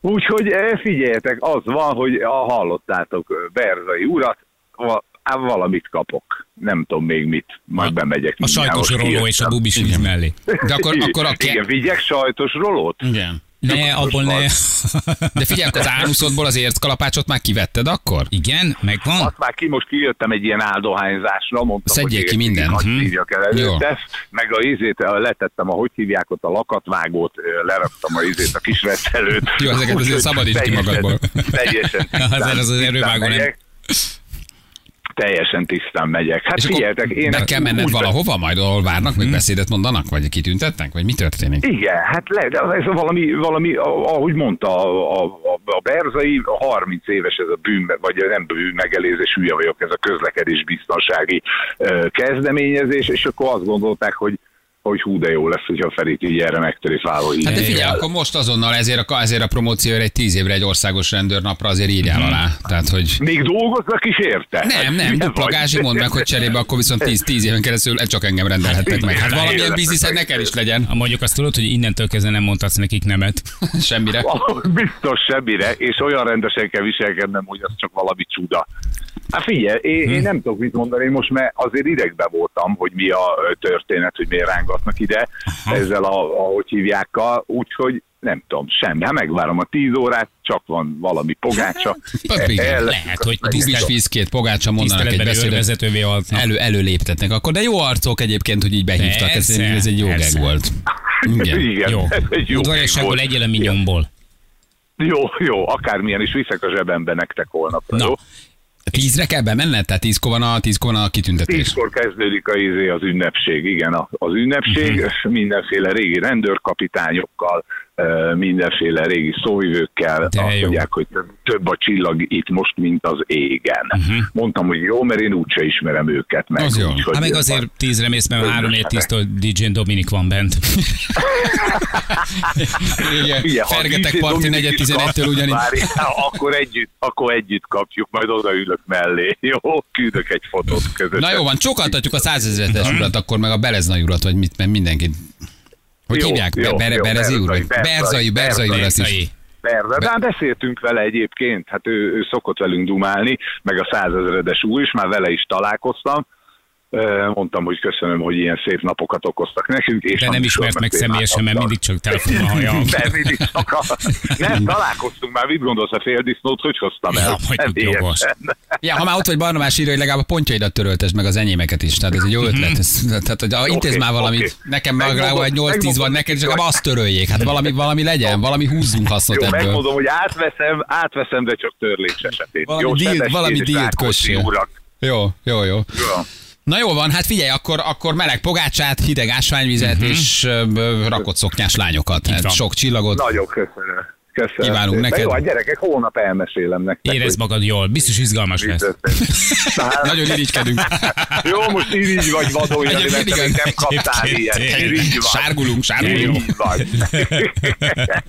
S4: Úgyhogy eh, figyeljetek, az van, hogy a, hallottátok eh, Berzai urat, va- ám valamit kapok. Nem tudom még mit, majd bemegyek.
S3: A
S4: mindjárt,
S3: sajtos
S4: most
S3: roló és a
S4: kijöttem.
S3: bubis ügy mellé.
S2: De akkor, akkor a ke-
S4: [laughs] Igen, vigyek sajtos rolót?
S2: Igen.
S3: Ne, abból ne.
S2: De figyelj, akkor az ánuszodból az érckalapácsot már kivetted akkor?
S3: Igen, megvan.
S4: Azt már ki, most kijöttem egy ilyen áldohányzásra, mondtam,
S2: Mhm. Szedjél
S4: hogy
S2: ki mindent.
S4: Hagy
S2: Mhm.
S4: hívjak el
S2: Jó.
S4: előtte, meg a ízét, letettem, a hogy hívják ott a lakatvágót, ö, leraktam a ízét, a kis reszelőt.
S2: Jó, ezeket azért
S4: Úgyhogy
S2: szabadítsd ki
S4: teljesen-
S2: magadból. [laughs]
S4: Teljesen tisztán-
S3: azért az az
S4: tisztán
S3: erővágó nem-
S4: megyek. Teljesen tisztán megyek. Hát
S2: És
S4: figyeljetek,
S2: akkor
S4: én
S2: be kell menned
S4: úgy-
S2: valahova, majd ahol várnak,
S3: Hm.
S2: meg beszédet mondanak, vagy kitüntetnek, vagy mi történik?
S4: Igen, hát le, de ez a valami, valami, a- ahogy mondta a, a, a- a Berzai, a 30 éves ez a bűn, vagy nem bűn megelőzés, hülye vagyok, ez a közlekedés biztonsági ö, kezdeményezés, és akkor azt gondolták, hogy hogy hú, de jó lesz, hogyha Ferit így erre megtöri fával.
S2: Hát de figyelj, akkor most azonnal ezért a, ezért a promócióra egy tíz évre egy országos rendőrnapra azért
S3: Hm.
S2: írjál alá. Tehát, hogy
S4: Még dolgoznak is érte?
S2: nem,
S4: Hát,
S2: nem,
S4: hülye
S2: dupla
S4: vagy.
S2: gázsi, mondd meg, hogy cserébe akkor viszont 10-10 éven keresztül csak engem rendelhettek meg. Hát valamilyen bizniszed neked is legyen.
S3: Mondjuk azt tudod, hogy innentől kezdve nem mondhatsz nekik nemet.
S2: Semmire.
S4: Valahogy [laughs] Biztos semmire, és olyan rendesen kell viselkednem, hogy az csak valami csuda. Hát figyelj, én,
S3: Hm.
S4: én nem tudok mit mondani, én most már azért idegbe voltam, hogy mi a ö, történet, hogy miért rángatnak ide ezzel a, ahogy hívjákkal, úgyhogy nem tudom, semmi. Hát megvárom a tíz órát, csak van valami pogácsa.
S2: Pöpp, igen.
S4: El-
S3: Hát, Lehet,
S4: [laughs]
S3: hogy
S2: Bubis
S3: tisztelet-
S2: vízkét, pogácsa mondanak egy
S3: tiszteletbeli
S2: beszédet.
S3: őrvezetővé altnak.
S2: elő, előléptetnek. Akkor de jó arcok egyébként, hogy így behívtak. Ez,
S3: Persze,
S2: ez egy jó geg
S3: persze.
S2: volt.
S4: Igen,
S2: Igen.
S4: igen
S3: Jó.
S4: ez egy jó gag
S3: Udvariasságból
S4: volt.
S3: legyél a minyomból.
S4: Jó, jó, akármilyen is viszek a zsebembe nektek holnapra,
S3: Na,
S4: jó?
S2: Tízre kell bemenned? Tehát tízkor van a, tízkor van a kitüntetés.
S4: Tízkor kezdődik a izé az ünnepség, igen, a- az
S2: Mhm.
S4: ünnepség mindenféle régi rendőrkapitányokkal, ö, mindenféle régi szóvivőkkel,
S3: De
S4: azt
S3: jó.
S4: mondják, hogy több- több a csillag itt most, mint az égen. Mondtam, hogy jó, mert én úgyse ismerem őket meg.
S2: Mhm. Az jó.
S4: úgyhogy-
S3: Hát meg azért tízre mész, mert három 4 10-től DJ Dominik van bent.
S4: Ugye,
S2: Igen.
S4: ha
S2: Fergetek
S4: DJ
S2: parti
S4: Dominik is
S2: negyed
S4: kap,
S2: 11-től ugyanígy.
S4: várj, hát akkor együtt, akkor együtt kapjuk, majd odaülök mellé. Jó, küldök egy fotót között.
S2: Na jó van, csókoltatjuk a százezretes urat, akkor meg a Bereznai urat, vagy mit, mert mindenkit. Hogy
S4: Jó,
S2: hívják? Be-
S4: jó,
S2: Bere-
S4: jó,
S2: Berezi úr? vagy?
S4: Berzai,
S2: Berzai, Berzai úr lesz is.
S3: Berzai.
S4: Persze, de hát beszéltünk vele egyébként, hát ő, ő szokott velünk dumálni, meg a százezredes úr is, már vele is találkoztam. Ö, Mondtam, hogy köszönöm, hogy ilyen szép napokat okoztak nekünk. És
S3: De
S4: a
S3: nem ismert
S4: műsorban
S3: meg személyesen, mert mindig
S4: szépen
S3: csak telefonon
S4: [laughs]
S3: hallja.
S4: de mindig csak a...
S3: [laughs]
S4: Nem, találkoztunk már, mit gondolsz, a féldisznót hogy hoztam el?
S3: Ja, mondjuk
S4: Nem
S3: jogos.
S4: [laughs] ilyet.
S2: Ja, ha már ott vagy Barnabás írja, hogy legalább a pontjaidat töröltesd meg az enyémeket is. Tehát ez egy jó ötlet. Ez, tehát, hogy a, intéz
S4: Mhm. Oké,
S2: már valamit.
S4: oké.
S2: Nekem meg legalább
S4: Megmondom,
S2: egy 8-10 van,
S4: megmondom,
S2: neked is legalább azt töröljék. Hát valami, valami legyen, valami húzzunk hasznot
S4: Jó,
S2: ebből.
S4: megmondom, hogy átveszem, átveszem, de csak törlés esetén.
S2: Valami
S4: Jó,
S2: dílt-
S4: Szebestén
S2: valami
S4: és
S2: dílt
S4: Rákóczi
S2: kössél.
S4: urak.
S2: Jó, jó, jó.
S4: Jó.
S2: Na jó van, hát figyelj, akkor, akkor meleg pogácsát, hideg ásványvizet uh-huh. és ö, ö, rakott szoknyás lányokat. Hát
S3: van.
S2: sok csillagot.
S4: Nagyon köszönöm. Köszönöm.
S2: Kívánunk
S4: szépen.
S2: neked.
S4: Jó, a gyerekek, holnap elmesélem nektek.
S3: Érezd
S4: hogy
S3: magad jól, biztos izgalmas
S4: mi
S3: lesz.
S4: történt. Na, hát,
S2: Nagyon irigykedünk.
S4: Jó, most irigy vagy vadó, én
S2: Egyébként
S4: nem,
S2: igen.
S4: nem kaptál ilyet. Irigy vagy.
S2: Sárgulunk, sárgulunk.
S4: Irigy vagy.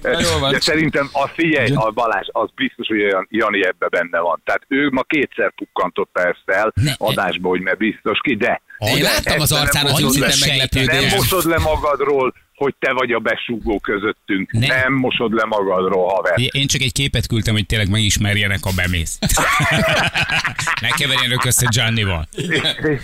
S2: Na, [laughs] jól van.
S4: De szerintem a figyelj, a Balázs, az biztos, hogy olyan Jani ebbe benne van. Tehát ő ma kétszer pukkantotta ezt el adásba, hogy mert biztos ki, de
S2: Én láttam az
S4: Ezt
S2: arcán az
S4: nem
S2: jó
S4: mosod
S2: szinten
S4: le.
S2: meglepődést.
S4: Nem mosod le magadról, hogy te vagy a besúgó közöttünk.
S3: Nem.
S4: Nem, nem mosod le magadról, haver.
S3: Én csak egy képet küldtem, hogy tényleg megismerjenek, ha
S2: [laughs]
S3: bemész. ne keverjenek össze Giannival.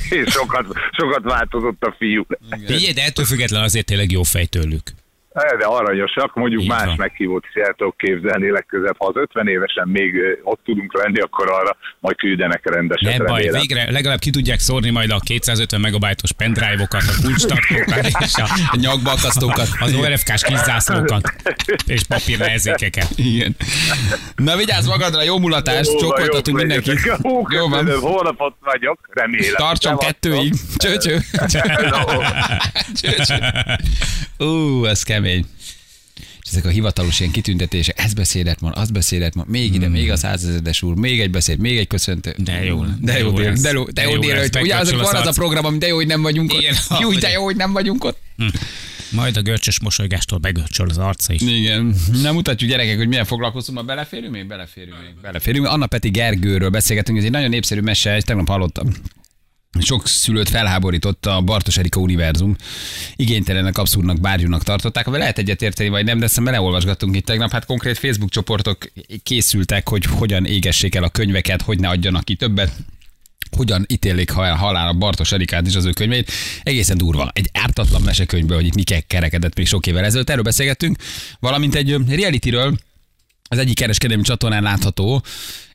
S4: És sokat, sokat változott a fiú.
S3: Figyelj, de ettől független azért tényleg jó fej tőlük.
S4: Hát, De arranyosak, mondjuk
S3: Így
S4: Így más
S3: van.
S4: meghívót is el tudok képzelni legközebb. Ha az 50 évesen még ö, ott tudunk lenni, akkor arra majd küldenek rendeset.
S3: Ne baj,
S4: remélem.
S3: végre legalább ki tudják szórni majd a 250 megabajtos pendrive-okat, a kulcstartókat
S2: [laughs]
S3: és a
S2: Nyakba akasztókat.
S3: az ORFK-s kiszászlókat és papírnehezékeket.
S2: Igen. Na vigyázz magadra, jó mulatást,
S4: Jó van,
S2: csókoltatunk
S4: jók
S2: mindenkit.
S4: legyetek. Hú,
S2: Jó van.
S4: köszönöm, holnap ott vagyok, remélem.
S2: Tartson
S4: Szevasztok. [laughs]
S2: kettőig. Cső, cső. Cső, cső. Ú, ez kemény. És ezek a hivatalos ilyen kitüntetések, ez beszédet mond, az beszédet mond, még ide, még a százezedes úr, még egy beszéd, még egy köszöntő.
S3: De jó,
S2: De jó, dél, de jó, de jó, dél,
S3: lesz,
S2: hogy ugye az,
S3: megkapcsol
S2: van az a
S3: arc.
S2: program, ami de jó, hogy nem vagyunk
S3: Igen,
S2: ott. Jó,
S3: ugye.
S2: de jó, hogy nem vagyunk ott.
S3: Majd a görcsös mosolygástól begörcsöl az arca is.
S2: Igen. Nem mutatjuk gyerekek, hogy milyen foglalkozunk, ma beleférünk még? Beleférünk még. Beleférünk. Anna Peti Gergőről beszélgetünk, ez egy nagyon népszerű mese, egy tegnap hallottam. Sok szülőt felháborított a Bartos Erika univerzum. Igénytelenek, abszurdnak, bárgyúnak tartották. Vele lehet egyetérteni, vagy nem, de aztán beleolvasgattunk itt tegnap. Hát konkrét Facebook csoportok készültek, hogy hogyan égessék el a könyveket, hogy ne adjanak ki többet hogyan ítélik ha el halál a Bartos Erikát és az ő könyveit. Egészen durva. Egy ártatlan mesekönyvből, hogy itt mi ke- kerekedett még sok évvel ezelőtt. Erről beszélgettünk, valamint egy ö, realityről, az egyik kereskedelmi csatornán látható,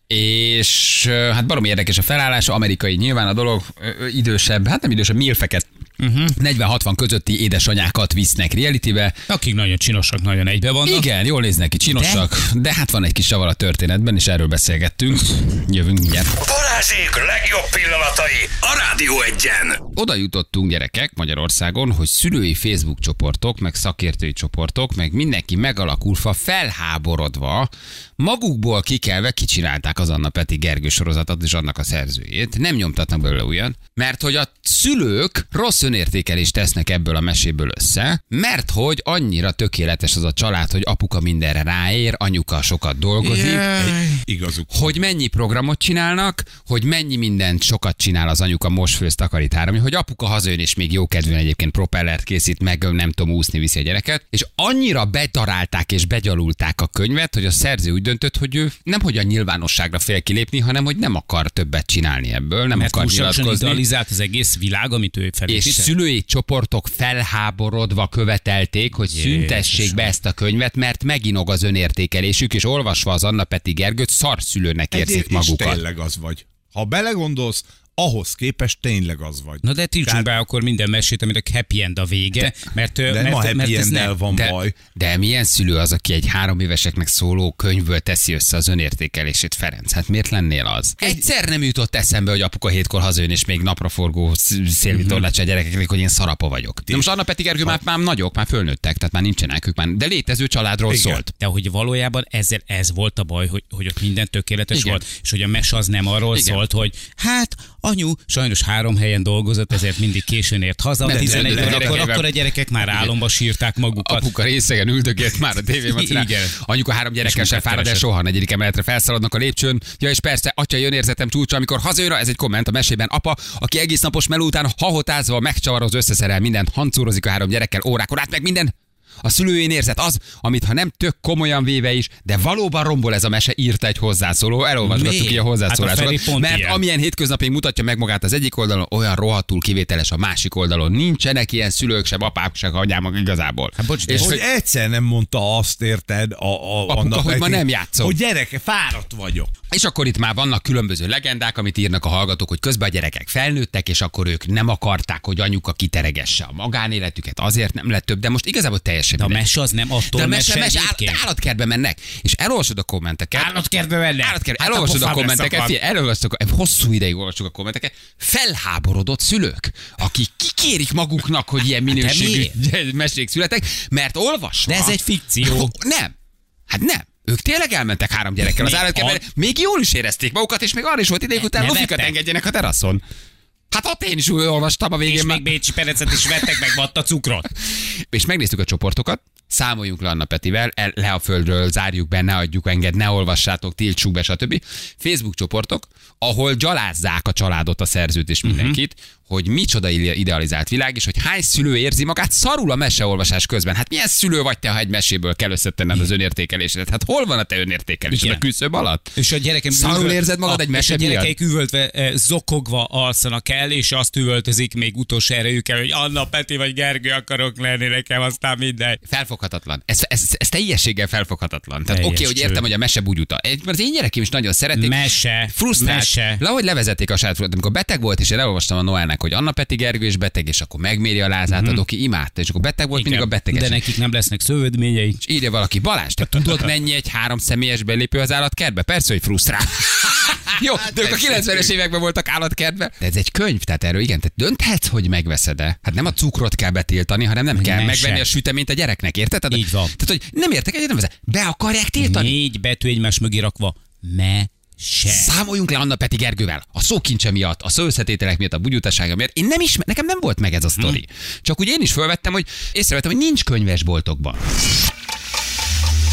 S2: és ö, hát barom érdekes a felállása, amerikai nyilván a dolog, ö, ö, idősebb, hát nem idősebb, milfeket, uh-huh. 40-60 közötti édesanyákat visznek realitybe.
S3: Akik nagyon csinosak, nagyon egybe vannak.
S2: Igen, jól néznek ki, csinosak, de? de hát van egy kis savar a történetben, és erről beszélgettünk. Jövünk mindjárt.
S1: Balázsék legjobb pillanatai a Rádió Egyen.
S2: oda jutottunk gyerekek Magyarországon, hogy szülői Facebook csoportok, meg szakértői csoportok, meg mindenki megalakulva, felháborodva, magukból kikelve kicsinálták az Anna Peti Gergő sorozatot és annak a szerzőjét. Nem nyomtatnak belőle olyan, mert hogy a szülők rossz önértékelést tesznek ebből a meséből össze, mert hogy annyira tökéletes az a család, hogy apuka mindenre ráér, anyuka sokat dolgozik,
S7: Igazuk.
S2: hogy mennyi programot csinálnak, hogy mennyi mindent sokat csinál az anyuka, most főz, takarít három, hogy apuka hazajön és még jó kedvűen egyébként propellert készít, meg ö, nem tudom úszni viszi a gyereket, és annyira betarálták és begyalulták a könyvet, hogy a szerző úgy döntött, hogy ő nem hogy a nyilvánosságra fél kilépni, hanem hogy nem akar többet csinálni ebből, nem
S3: Mert
S2: akar
S3: túlságosan
S2: nyilatkozni.
S3: idealizált az egész világ, amit ő
S2: És
S3: felépített.
S2: szülői csoportok felháborodva követelték, hogy szüntessék be ezt a könyvet, mert meginog az önértékelésük, és olvasva az Anna Peti Gergőt szarszülőnek érzik
S7: Egyéb- és
S2: magukat.
S7: tényleg az vagy. Ha belegondolsz, ahhoz képest tényleg az vagy.
S3: Na de tiltsunk
S7: Kár-
S3: be akkor minden mesét, aminek happy end a vége, de, mert,
S7: de
S3: mert,
S7: nem a
S3: mert,
S7: happy
S3: mert ez
S7: end-del
S3: nem,
S7: van
S2: de,
S7: baj.
S2: De milyen szülő az, aki egy három éveseknek szóló könyvből teszi össze az önértékelését, Ferenc? Hát miért lennél az? Egyszer nem jutott eszembe, hogy apuka hétkor hazajön, és még napraforgó sz- szélvitorlácsa a gyerekeknek, hogy én szarapa vagyok. De Mhm. most Anna Peti Gergő már, már nagyok, már fölnőttek, tehát már nincsenek ők már, de létező családról
S7: Igen.
S2: szólt.
S3: De hogy valójában ezzel ez volt a baj, hogy, hogy ott minden tökéletes
S2: Igen.
S3: Igen. volt, és hogy a mes az nem arról
S2: Igen.
S3: Igen. szólt, hogy hát anyu sajnos három helyen dolgozott, ezért mindig későn ért haza,
S2: Nem,
S3: nem,
S2: de-
S3: 11
S2: de- de- de-
S3: órakor,
S2: de- de-
S3: akkor a gyerekek már álomba sírták magukat.
S2: Apuka részegen üldögélt már a tévében.
S3: Igen.
S2: Anyuka három gyerekkel
S3: És
S2: sem
S3: minket
S2: fárad el
S3: keresett.
S2: soha, negyedik emeletre felszaladnak a lépcsőn. Ja, és persze, atya jön érzetem csúcsa, amikor hazajön, ez egy komment a mesében. Apa, aki egész napos meló után hahotázva megcsavaroz, összeszerel mindent, hancúrozik a három gyerekkel órákon át, meg minden. A szülőjén érzet az, amit ha nem tök komolyan véve is, de valóban rombol ez a mese, írta egy hozzászóló. Elolvasgattuk
S3: Miért?
S2: ki a
S3: Hát a
S2: hozzászólásokat.
S3: Feri pont
S2: mert
S3: ilyen.
S2: amilyen hétköznapig mutatja meg magát az egyik oldalon, olyan rohadtul kivételes a másik oldalon. Nincsenek ilyen szülők, sem apák, sem anyámak igazából. Hát
S3: bocs, de
S2: és
S7: És hogy
S2: hogy
S7: egyszer nem mondta azt, érted? A, a,
S2: Apuka,
S7: annak
S2: hogy ma
S7: neki-
S2: nem játszom.
S7: Hogy gyereke, fáradt vagyok.
S2: És akkor itt már vannak különböző legendák, amit írnak a hallgatók, hogy közben a gyerekek felnőttek, és akkor ők nem akarták, hogy anyuka kiteregesse a magánéletüket, azért nem lett több, de most igazából teljesen
S3: De a
S2: mindegy.
S3: mese az nem attól
S2: de a mese,
S3: mese,
S2: mese
S3: egyébként.
S2: állat, állatkertbe mennek, és elolvasod a kommenteket.
S3: Állatkertbe mennek?
S2: Állatkertbe.
S3: Hát
S2: elolvasod
S3: akkor
S2: a
S3: fább lesz
S2: kommenteket,
S3: a
S2: figyelj, elolvasod, hosszú ideig olvasok a kommenteket. Felháborodott szülők, akik kikérik maguknak, hogy ilyen minőségű [laughs] mesék születek, mert olvasva...
S3: Hát De ez egy fikció.
S2: Nem. Hát nem. Ők tényleg elmentek három gyerekkel az
S3: Mi?
S2: állatkertbe,
S3: A-
S2: még jól is érezték magukat, és még arra is volt ideig, hogy utána
S3: Nevettek?
S2: lofikat engedjenek a teraszon. Hát ott én is úgy olvastam a végén.
S3: És
S2: már.
S3: még Bécsi Perecet is vettek meg vatta cukrot.
S2: és megnéztük a csoportokat, számoljunk le Anna Petivel, el, le a földről, zárjuk be, ne adjuk enged, ne olvassátok, tiltsuk be, stb. Facebook csoportok, ahol gyalázzák a családot, a szerzőt
S3: Mhm.
S2: és mindenkit, hogy micsoda ide- idealizált világ, és hogy hány szülő érzi magát szarul a meseolvasás közben. Hát milyen szülő vagy te, ha egy meséből kell összetenned az önértékelésedet? Hát hol van a te önértékelésed? A
S3: Igen.
S2: küszöb alatt?
S3: És a gyerekem
S2: Szarul érzed magad
S3: a,
S2: egy mese
S3: és A
S2: miatt?
S3: gyerekeik üvöltve, eh, zokogva alszanak el, és azt üvöltözik még utolsó erejükkel, hogy Anna, Peti vagy Gergő akarok lenni nekem, aztán mindegy.
S2: Felfoghatatlan. Ez, ez, ez teljességgel felfoghatatlan. Tehát oké,
S3: Teljes
S2: okay, hogy értem,
S3: cső.
S2: hogy a mese bugyuta. Egy, mert az én gyerekem is nagyon szeretik.
S3: Mese,
S2: Frusztrált.
S3: mese.
S2: Le, hogy levezették a sátrulat, amikor beteg volt, és én elolvastam a Noelnek, hogy Anna Peti Gergő is beteg, és akkor megméri a lázát, mm-hmm. aki imádta, és akkor beteg volt, mindig a beteges.
S3: Mhm. De nekik nem lesznek szövődményeik.
S2: És írja valaki, Balázs, te tudod mennyi egy három személyes belépő az állatkertbe? Persze, hogy frusztrál. [laughs] Jó, de ők a 90-es években voltak állatkertben. De ez egy könyv, tehát erről igen, tehát dönthetsz, hogy megveszed-e. Hát nem a cukrot kell betiltani, hanem nem kell
S3: Mese.
S2: megvenni a süteményt a gyereknek, érted? Tehát,
S3: Így van.
S2: Tehát, hogy nem értek egyet, nem veszed. Be akarják tiltani.
S3: Négy betű egymás mögé rakva. Mese.
S2: Számoljunk le Anna Peti Gergővel. A szókincse miatt, a szóösszetételek miatt, a bugyutasága miatt. Én nem ismer, nekem nem volt meg ez a sztori. Csak úgy én is felvettem, hogy észrevettem, hogy nincs könyvesboltokban.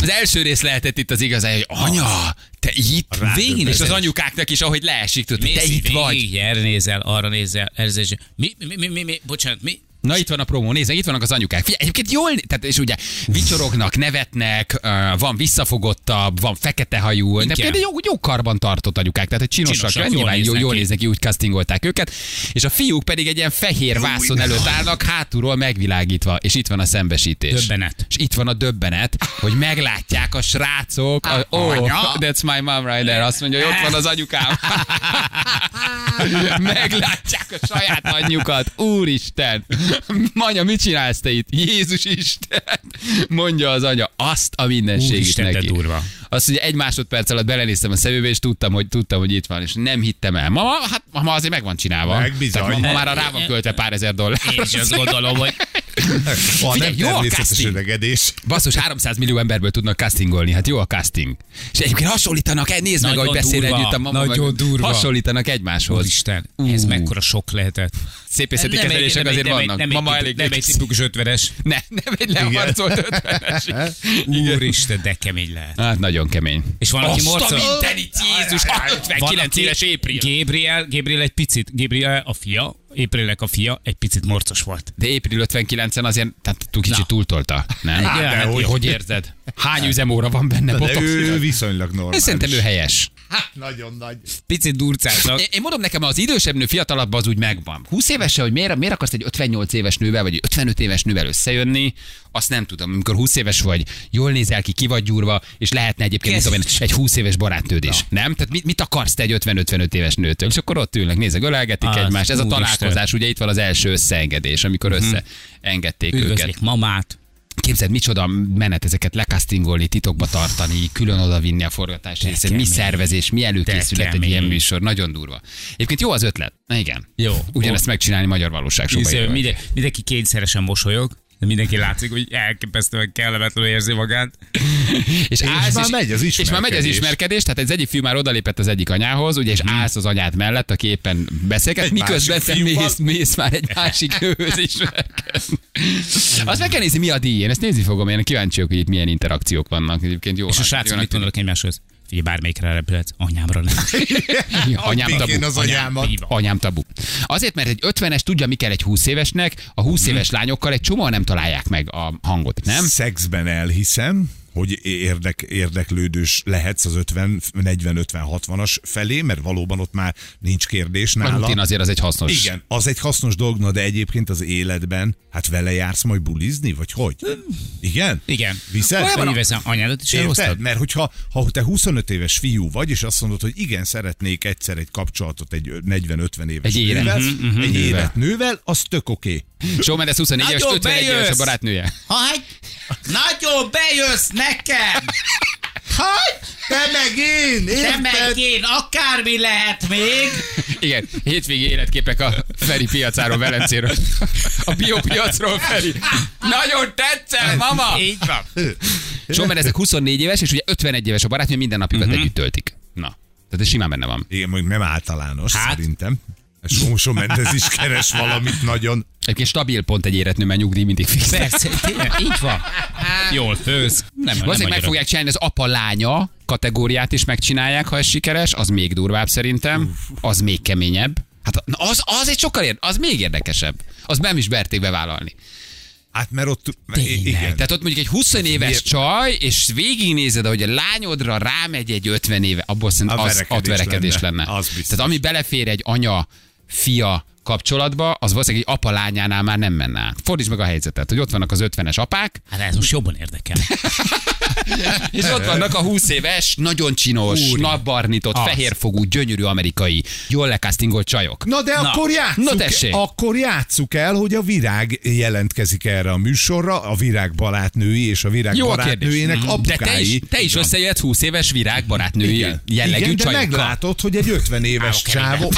S2: Az első rész lehetett itt az igazán, hogy anya, te itt végén, és az anyukáknak is, ahogy leesik, tudod, te itt vagy.
S3: Erre nézel, arra nézel, erre nézel. Mi, mi, mi, mi, mi, bocsánat, mi?
S2: Na itt van a promó, nézd, itt vannak az anyukák. Figyelj, egyébként jól, tehát és ugye vicsorognak, nevetnek, ö, van visszafogottabb, van fekete hajú, de például jó, jó karban tartott anyukák, tehát egy csinosak,
S3: Csinosak,
S2: csinosak
S3: jól
S2: nyilván jól,
S3: néznek
S2: jól
S3: ki.
S2: néznek ki, úgy castingolták őket, és a fiúk pedig egy ilyen fehér vászon előtt állnak, hátulról megvilágítva, és itt van a szembesítés.
S3: Döbbenet.
S2: És itt van a döbbenet, hogy meglátják a srácok, a, oh, that's my mom right there, azt mondja, hogy ott van az anyukám. [laughs] Meglátják a saját anyjukat. Úristen! Anya, mit csinálsz te itt? Jézus Isten! Mondja az anya azt a mindenségét
S3: Úristen, de
S2: neki.
S3: durva.
S2: Azt mondja, egy másodperc alatt belenéztem a szemébe, és tudtam, hogy tudtam, hogy itt van, és nem hittem el. Mama, hát mama azért meg van csinálva.
S7: Meg bizony.
S2: Tehát mama már rá van költe pár ezer dollár.
S3: És azt gondolom, hogy
S7: A
S2: Figyelj,
S7: nem
S2: jó a
S7: természetes
S2: casting.
S7: öregedés.
S2: Basszus, 300 millió emberből tudnak castingolni, hát jó a casting. És egyébként hasonlítanak, eh, nézd meg,
S3: Nagyon
S2: ahogy beszél
S3: durva,
S2: együtt a mama.
S3: nagyon
S2: meg-
S3: durva.
S2: Hasonlítanak egymáshoz.
S3: Úristen, ez
S2: Ú.
S3: mekkora sok lehetett.
S2: Szépészeti
S3: Nem egy-
S2: kezelések
S3: nem egy-
S2: azért
S3: nem egy-
S2: vannak.
S3: nem egy
S2: Mama
S3: tipu-
S2: elég
S3: Nem egy tipikus ötvenes.
S2: Ne, nem egy leharcolt ötvenes.
S3: Úristen, de kemény lehet.
S2: Hát nagyon kemény.
S3: És van, aki
S2: Azt a
S3: morcol.
S2: mindenit, Jézus, [laughs] a 59 éves Épril.
S3: Gabriel, Gabriel egy picit, Gabriel a fia, Éprilnek a fia egy picit morcos volt.
S2: De Épril 59-en azért, tehát túl kicsit
S3: Na.
S2: túltolta. Nem?
S3: Hát,
S2: Hát,
S3: dehogy.
S2: hogy érzed? Hány üzemóra van benne?
S7: De
S2: botox?
S7: ő viszonylag normális.
S2: Szerintem ő helyes.
S7: Nagyon nagy.
S3: Picit
S2: [laughs]
S3: durcáltak.
S2: Én, én mondom nekem, az idősebb nő, fiatalabb az úgy megvan. 20 évesen, hogy miért, miért akarsz egy 58 éves nővel, vagy egy 55 éves nővel összejönni, azt nem tudom. Amikor 20 éves vagy, jól nézel ki, ki vagy gyúrva, és lehetne egyébként mit tudom én, egy 20 éves barátnőd is. Nem? Tehát mit, mit akarsz te egy 50-55 éves nőtől? És akkor ott ülnek, nézek, ölelgetik
S3: Az,
S2: egymást. Ez a
S3: úristen.
S2: találkozás, ugye itt van az első összeengedés, amikor összeengedték őket.
S3: Üdvözlik mamát.
S2: Képzeld, micsoda menet ezeket lekasztingolni, titokba tartani, külön odavinni a forgatás részét, mi
S3: kemény.
S2: szervezés, mi előkészület egy
S3: kemény.
S2: ilyen műsor, nagyon durva. Egyébként jó az ötlet, Na igen.
S3: Jó.
S2: Ugyanezt megcsinálni magyar valóság
S3: Hisz,
S2: sokkal
S3: minden, mindenki kényszeresen mosolyog, de mindenki látszik, hogy elképesztően kellemetlenül érzi
S2: [laughs]
S3: magát.
S2: És, állsz,
S7: már megy az
S2: És már megy az
S7: ismerkedés.
S2: ismerkedés, tehát az egyik fiú már odalépett az egyik anyához, ugye, és állsz az anyád mellett, aki éppen beszélget,
S7: Egy
S2: miközben te
S7: másik fiúval.
S2: mész, mész, már egy [laughs] másik nőhöz is. Azt meg kell nézni, mi a díj. Én ezt nézni fogom, én kíváncsi vagyok, hogy itt milyen interakciók vannak. Egyébként jó. hát-
S3: És a srácok mit mondanak egymáshoz? Figyelj, bármelyikre repülhetsz,
S2: [laughs]
S3: anyámra nem.
S2: Anyám
S7: Addig
S2: tabu.
S7: én az anyámat.
S3: Így van.
S2: Anyám tabu. Azért, mert egy 50-es tudja, mi kell egy 20 évesnek, a 20 éves lányokkal egy csomóan nem találják meg a hangot, nem?
S7: Szexben elhiszem, hogy érdek, érdeklődős lehetsz az 50, 40, 50, 60-as felé, mert valóban ott már nincs kérdés
S2: A
S7: nála.
S2: rutin azért az egy hasznos.
S7: Igen, az egy hasznos dolog, na de egyébként az életben, hát vele jársz majd bulizni, vagy hogy?
S2: Hm.
S7: Igen?
S3: Igen.
S7: Viszed?
S3: Olyan veszem anyádat is
S7: Érted?
S3: elhoztad?
S7: Mert hogyha ha te 25 éves fiú vagy, és azt mondod, hogy igen, szeretnék egyszer egy kapcsolatot egy 40-50 éves
S2: Egy élet.
S7: nővel,
S2: Mhm, mhm,
S7: egy
S2: nővel.
S7: élet nővel, az tök oké.
S2: Showman, ez 24 éves,
S3: Nagyon
S2: 51 éves a
S3: bejössz!
S2: barátnője.
S3: Hagy! Nagyon bejössz nekem! Hagy!
S7: Te meg én!
S3: Te meg én, akármi lehet még!
S2: Igen, hétvégi életképek a Feri piacáról, Velencéről. A biopiacról, Feri. Nagyon tetszel, mama!
S3: Így van.
S2: Showman, ezek 24 éves, és ugye 51 éves a barátnő, minden napjukat együtt töltik. Na, tehát ez simán benne van.
S7: Igen, mondjuk nem általános,
S3: Hát.
S7: hát. szerintem. Sómosom Mendez is keres valamit nagyon.
S2: Egyébként stabil pont egy éretnő, mert nyugdíj mindig fix.
S3: Persze, tényleg, így van.
S2: Hát.
S3: Jól főz. Nem, nem
S2: Valószínűleg meg
S3: annyira.
S2: fogják csinálni az apa-lánya kategóriát is megcsinálják, ha ez sikeres, az még durvább szerintem, az még keményebb. Hát na az, az egy sokkal ér, az még érdekesebb. Az nem is berték bevállalni.
S7: Hát mert ott...
S2: Tényleg.
S7: Igen.
S2: Tehát ott mondjuk egy 20 éves
S7: miért?
S2: csaj, és végignézed, hogy a lányodra rámegy egy 50 éve, abból szerintem
S7: A
S2: az
S7: verekedés
S2: ott verekedés lenne.
S7: lenne. Az biztos.
S2: Tehát ami belefér egy anya-fia kapcsolatba, az valószínűleg egy apa lányánál már nem menne át. Fordítsd meg a helyzetet, hogy ott vannak az 50-es apák,
S3: Hát ez most jobban érdekel.
S2: [laughs] és ott vannak a 20 éves, nagyon csinos,
S3: Úri.
S2: napbarnitott,
S3: Az.
S2: fehérfogú, gyönyörű amerikai, jól lekásztingolt csajok.
S7: Na de
S2: Na.
S7: Na. akkor játsszuk,
S2: Na tessék.
S7: akkor játsszuk el, hogy a virág jelentkezik erre a műsorra, a virág barátnői és a virág
S2: Jó a kérdés.
S7: barátnőjének
S2: Mhm. De
S7: apukái.
S2: te is, te is összejött 20 éves virág barátnői
S7: Igen.
S2: jellegű
S7: Igen, de
S2: csajokkal.
S7: meglátod, hogy egy 50 éves csávó...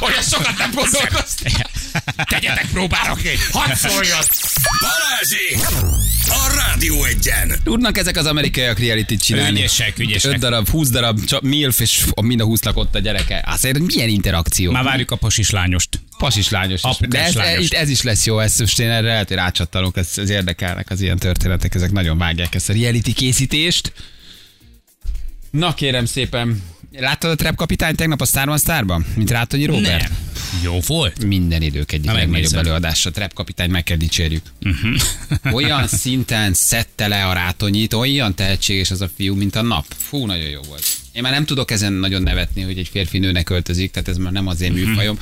S2: Olyan sokat nem gondolkoztam. [laughs] Tegyetek próbára, hadd szóljon.
S1: Balázsi! A Rádió egyen!
S2: Tudnak ezek az amerikaiak reality csinálni.
S3: Ügyesek, ügyesek.
S2: 5 darab, 20 darab, csak milf, és mind a 20 lakott a gyereke. Azért milyen interakció.
S3: Már várjuk a pasis lányost.
S2: Pasis lányos. is.
S3: Apukás
S2: De ez,
S3: lányos.
S2: itt ez is lesz jó, ezt most én erre lehet, hogy rácsattanok, ez, ez érdekelnek az ilyen történetek, ezek nagyon vágják ezt a reality készítést. Na kérem szépen, láttad a Trap kapitány tegnap a Star One Starban? Mint Rátonyi Robert?
S3: Nem. Jó volt.
S2: Minden idők egyik
S3: Na,
S2: legnagyobb
S3: megnézem.
S2: előadása. Trap kapitány, meg kell dicsérjük.
S3: Mhm.
S2: [laughs] olyan szinten szedte le a rátonyit, olyan tehetséges az a fiú, mint a nap. Fú, nagyon jó volt. Én már nem tudok ezen nagyon nevetni, hogy egy férfi nőnek öltözik, tehát ez már nem az én
S3: Mhm.
S2: műfajom.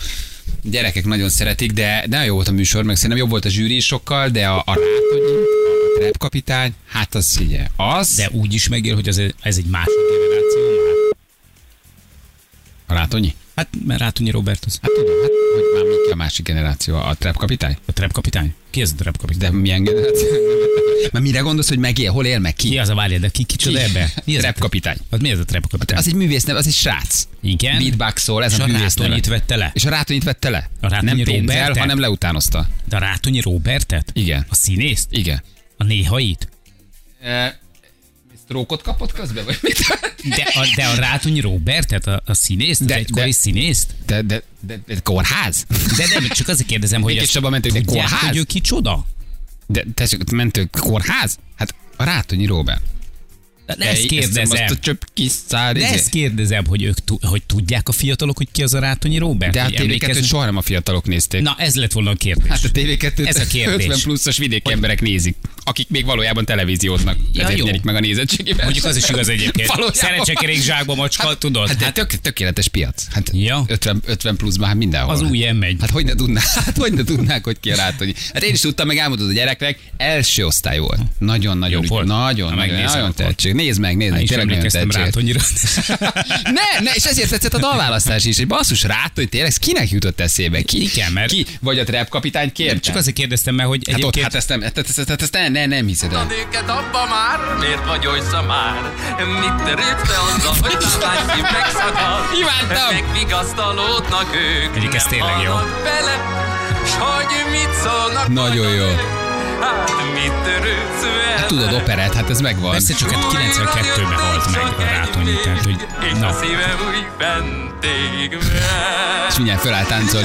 S2: Gyerekek nagyon szeretik, de de jó volt a műsor, meg szerintem jobb volt a zsűri is sokkal, de a, a rátonyi, a trap kapitány, hát az ugye, az...
S3: De úgy is megél, hogy ez, ez egy másik generáció. már.
S2: A rátonyi?
S3: Hát mert Rátonyi Robert az
S2: Hát tudom, hát, hogy már mi a másik generáció, a trap kapitány?
S3: a trap kapitány. Ki ez a trap kapitány?
S2: De milyen [laughs] generáció? Már mire gondolsz, hogy megél, hol él meg ki?
S3: Ki az a várja, de ki kicsoda ebbe? Mi ez a
S2: Trap kapitány.
S3: Hát mi ez a trap kapitány?
S2: Az egy művész neve, az egy srác.
S3: Igen.
S2: Beatboxol, ez
S3: És
S2: a
S3: a
S2: művész
S3: Rátonyit
S2: neve.
S3: vette le.
S2: És a rátonyit vette le.
S3: A Rátonyi
S2: nem pénzzel,
S3: Robertet?
S2: hanem leutánozta.
S3: De a Rátonyi Robertet?
S2: Igen.
S3: A színészt?
S2: Igen.
S3: A néhait?
S2: E, Trókot kapott közben, vagy mit?
S3: De a, de a Rátonyi Robertet, a, a színészt? De,
S2: De-
S3: az egykori
S2: de-
S3: színészt?
S2: De, de, de, de kórház?
S3: De nem, csak azért kérdezem, hogy
S2: Békés
S3: ezt
S2: Csaba mentő, de
S3: tudják,
S2: kórház?
S3: hogy ő kicsoda?
S2: De tessék, mentő kórház? Hát a Rátonyi Róben.
S3: De ezt kérdezem.
S2: Azt a csöp kis szár,
S3: De
S2: izé.
S3: ezt kérdezem, hogy ők tu- hogy tudják a fiatalok, hogy ki az a Rátonyi Robert?
S2: De hát a
S3: Hogy
S2: tv
S3: emlékeznek-
S2: soha nem a fiatalok nézték.
S3: Na, ez lett volna a kérdés.
S2: Hát a TV2
S3: Ez a kérdés.
S2: 50 pluszos vidéki emberek nézik, akik még valójában televízióznak.
S3: Ja,
S2: Ezért
S3: jó.
S2: nyerik meg a nézettségében.
S3: Mondjuk az is igaz egyébként.
S2: Valójában.
S3: Szerencsekerék zsákba macska,
S2: Hát-
S3: tudod?
S2: Hát, hát
S3: Hát-
S2: tök, tökéletes piac. Hát
S3: Ja.
S2: 50, 50 pluszban hát mindenhol.
S3: Az új M1.
S2: Hát hogy ne tudnák, [laughs] hát hogy ne tudnák, hogy ki a rátonyi. Hát én is tudtam, meg elmondod a gyereknek, első osztály volt. Nagyon-nagyon,
S3: Jó
S2: ügy-
S3: volt.
S2: nagyon, nagyon,
S3: Ha megnézem,
S2: nagyon
S3: akkor.
S2: tehetség. Nézd meg, nézd
S3: Én
S2: meg,
S3: is
S2: tényleg nagyon
S3: emlékeztem
S2: tehetség.
S3: Rátonyira.
S2: [laughs] Ne, ne, és ezért tetszett a dalválasztás is, hogy basszus rátony, tényleg ez kinek jutott eszébe? Ki,
S3: Igen, mert-
S2: ki vagy a trap kapitány kérte?
S3: Csak azért kérdeztem, mert hogy
S2: Hát ott,
S3: egyébként...
S2: hát ezt nem, ezt, ezt, ezt, ezt nem, nem, nem hiszed el.
S8: nőket abba már? Miért vagy oly szamár? Mit törődsz te azzal, hogy lábány szív megszakad? Hát
S2: Imádtam!
S8: Megvigasztalódnak ők,
S3: Egyik ez
S8: nem
S3: tényleg jó.
S8: hallnak bele, s hogy mit szólnak
S2: Nagyon
S8: majd a
S2: jó.
S8: nők? Hát mit törődsz vele?
S2: Hát tudod, operett, hát ez megvan.
S3: Persze csak hát 92-ben halt meg a Rátonyi, tehát hogy...
S8: És a
S3: Na,
S8: szívem úgy bentég
S2: És mindjárt föláll táncolj.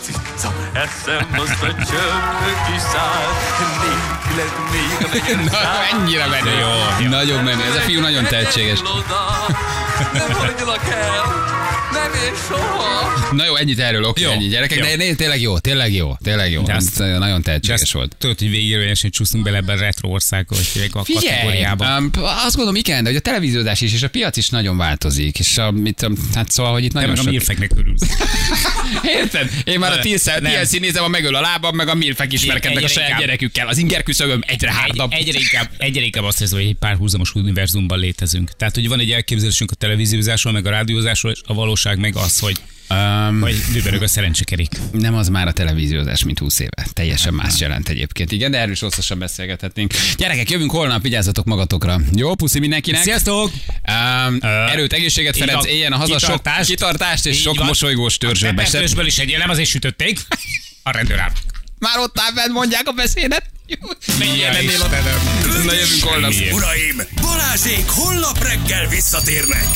S8: Cica, eszembe azt a csöpök kiszáll, nélküled még a
S3: [laughs]
S8: megyek
S2: Na, ennyire menő.
S3: Jó, jó.
S2: Nagyon menő. Ez a fiú nagyon tehetséges.
S8: Nem hagylak el, nem ér soha.
S2: Na jó, ennyit erről, oké,
S3: Jó,
S2: ennyi gyerekek,
S3: jó.
S2: de né- tényleg jó, tényleg jó, tényleg jó.
S3: De azt-
S2: Ez, eh, Nagyon
S3: de
S2: tehetséges
S3: azt
S2: volt.
S3: Tudod, hogy végérvényesen csúszunk bele ebbe a retro országba, vagy hívják a
S2: Figyelj,
S3: kategóriába.
S2: um, azt gondolom, igen, de hogy a televíziózás is, és a piac is nagyon változik, és a, mit, tudom, hát szóval, hogy itt
S3: Te
S2: nagyon
S3: meg a
S2: sok...
S3: milfeknek örülsz.
S2: [laughs] Érted? Én már a
S3: Nem.
S2: Tilszel, TLC nézem, a megöl a lábam, meg a milfek ismerkednek
S3: Egyre
S2: a saját
S3: inkább.
S2: gyerekükkel. Az inger küszöböm egyre
S3: Egy,
S2: hárdabb.
S3: egyre, inkább, egyre inkább azt érzem, hogy egy párhuzamos univerzumban létezünk. Tehát, hogy van egy elképzelésünk a televíziózásról, meg a rádiózásról, és a valóság meg az, hogy
S2: Um,
S3: vagy dübörög a szerencsekerék.
S2: Nem az már a televíziózás, mint 20 éve. Teljesen
S3: Hát
S2: más jelent egyébként. Igen, de erről is hosszasan beszélgethetnénk. Gyerekek, jövünk holnap, vigyázzatok magatokra. Jó, puszi mindenkinek.
S3: Sziasztok!
S2: Um,
S3: Ö,
S2: erőt, egészséget,
S3: így
S2: Ferenc,
S3: van.
S2: éljen a haza sok
S3: Kitartást.
S2: kitartást és
S3: Így
S2: sok
S3: van.
S2: mosolygós törzsőbe.
S3: A törzsből is egy nem azért sütötték. A rendőr
S2: Már ott áll bent, mondják a beszédet. Menjél, mennél oda. Na jövünk holnap.
S1: Uraim, Balázsék holnap reggel visszatérnek.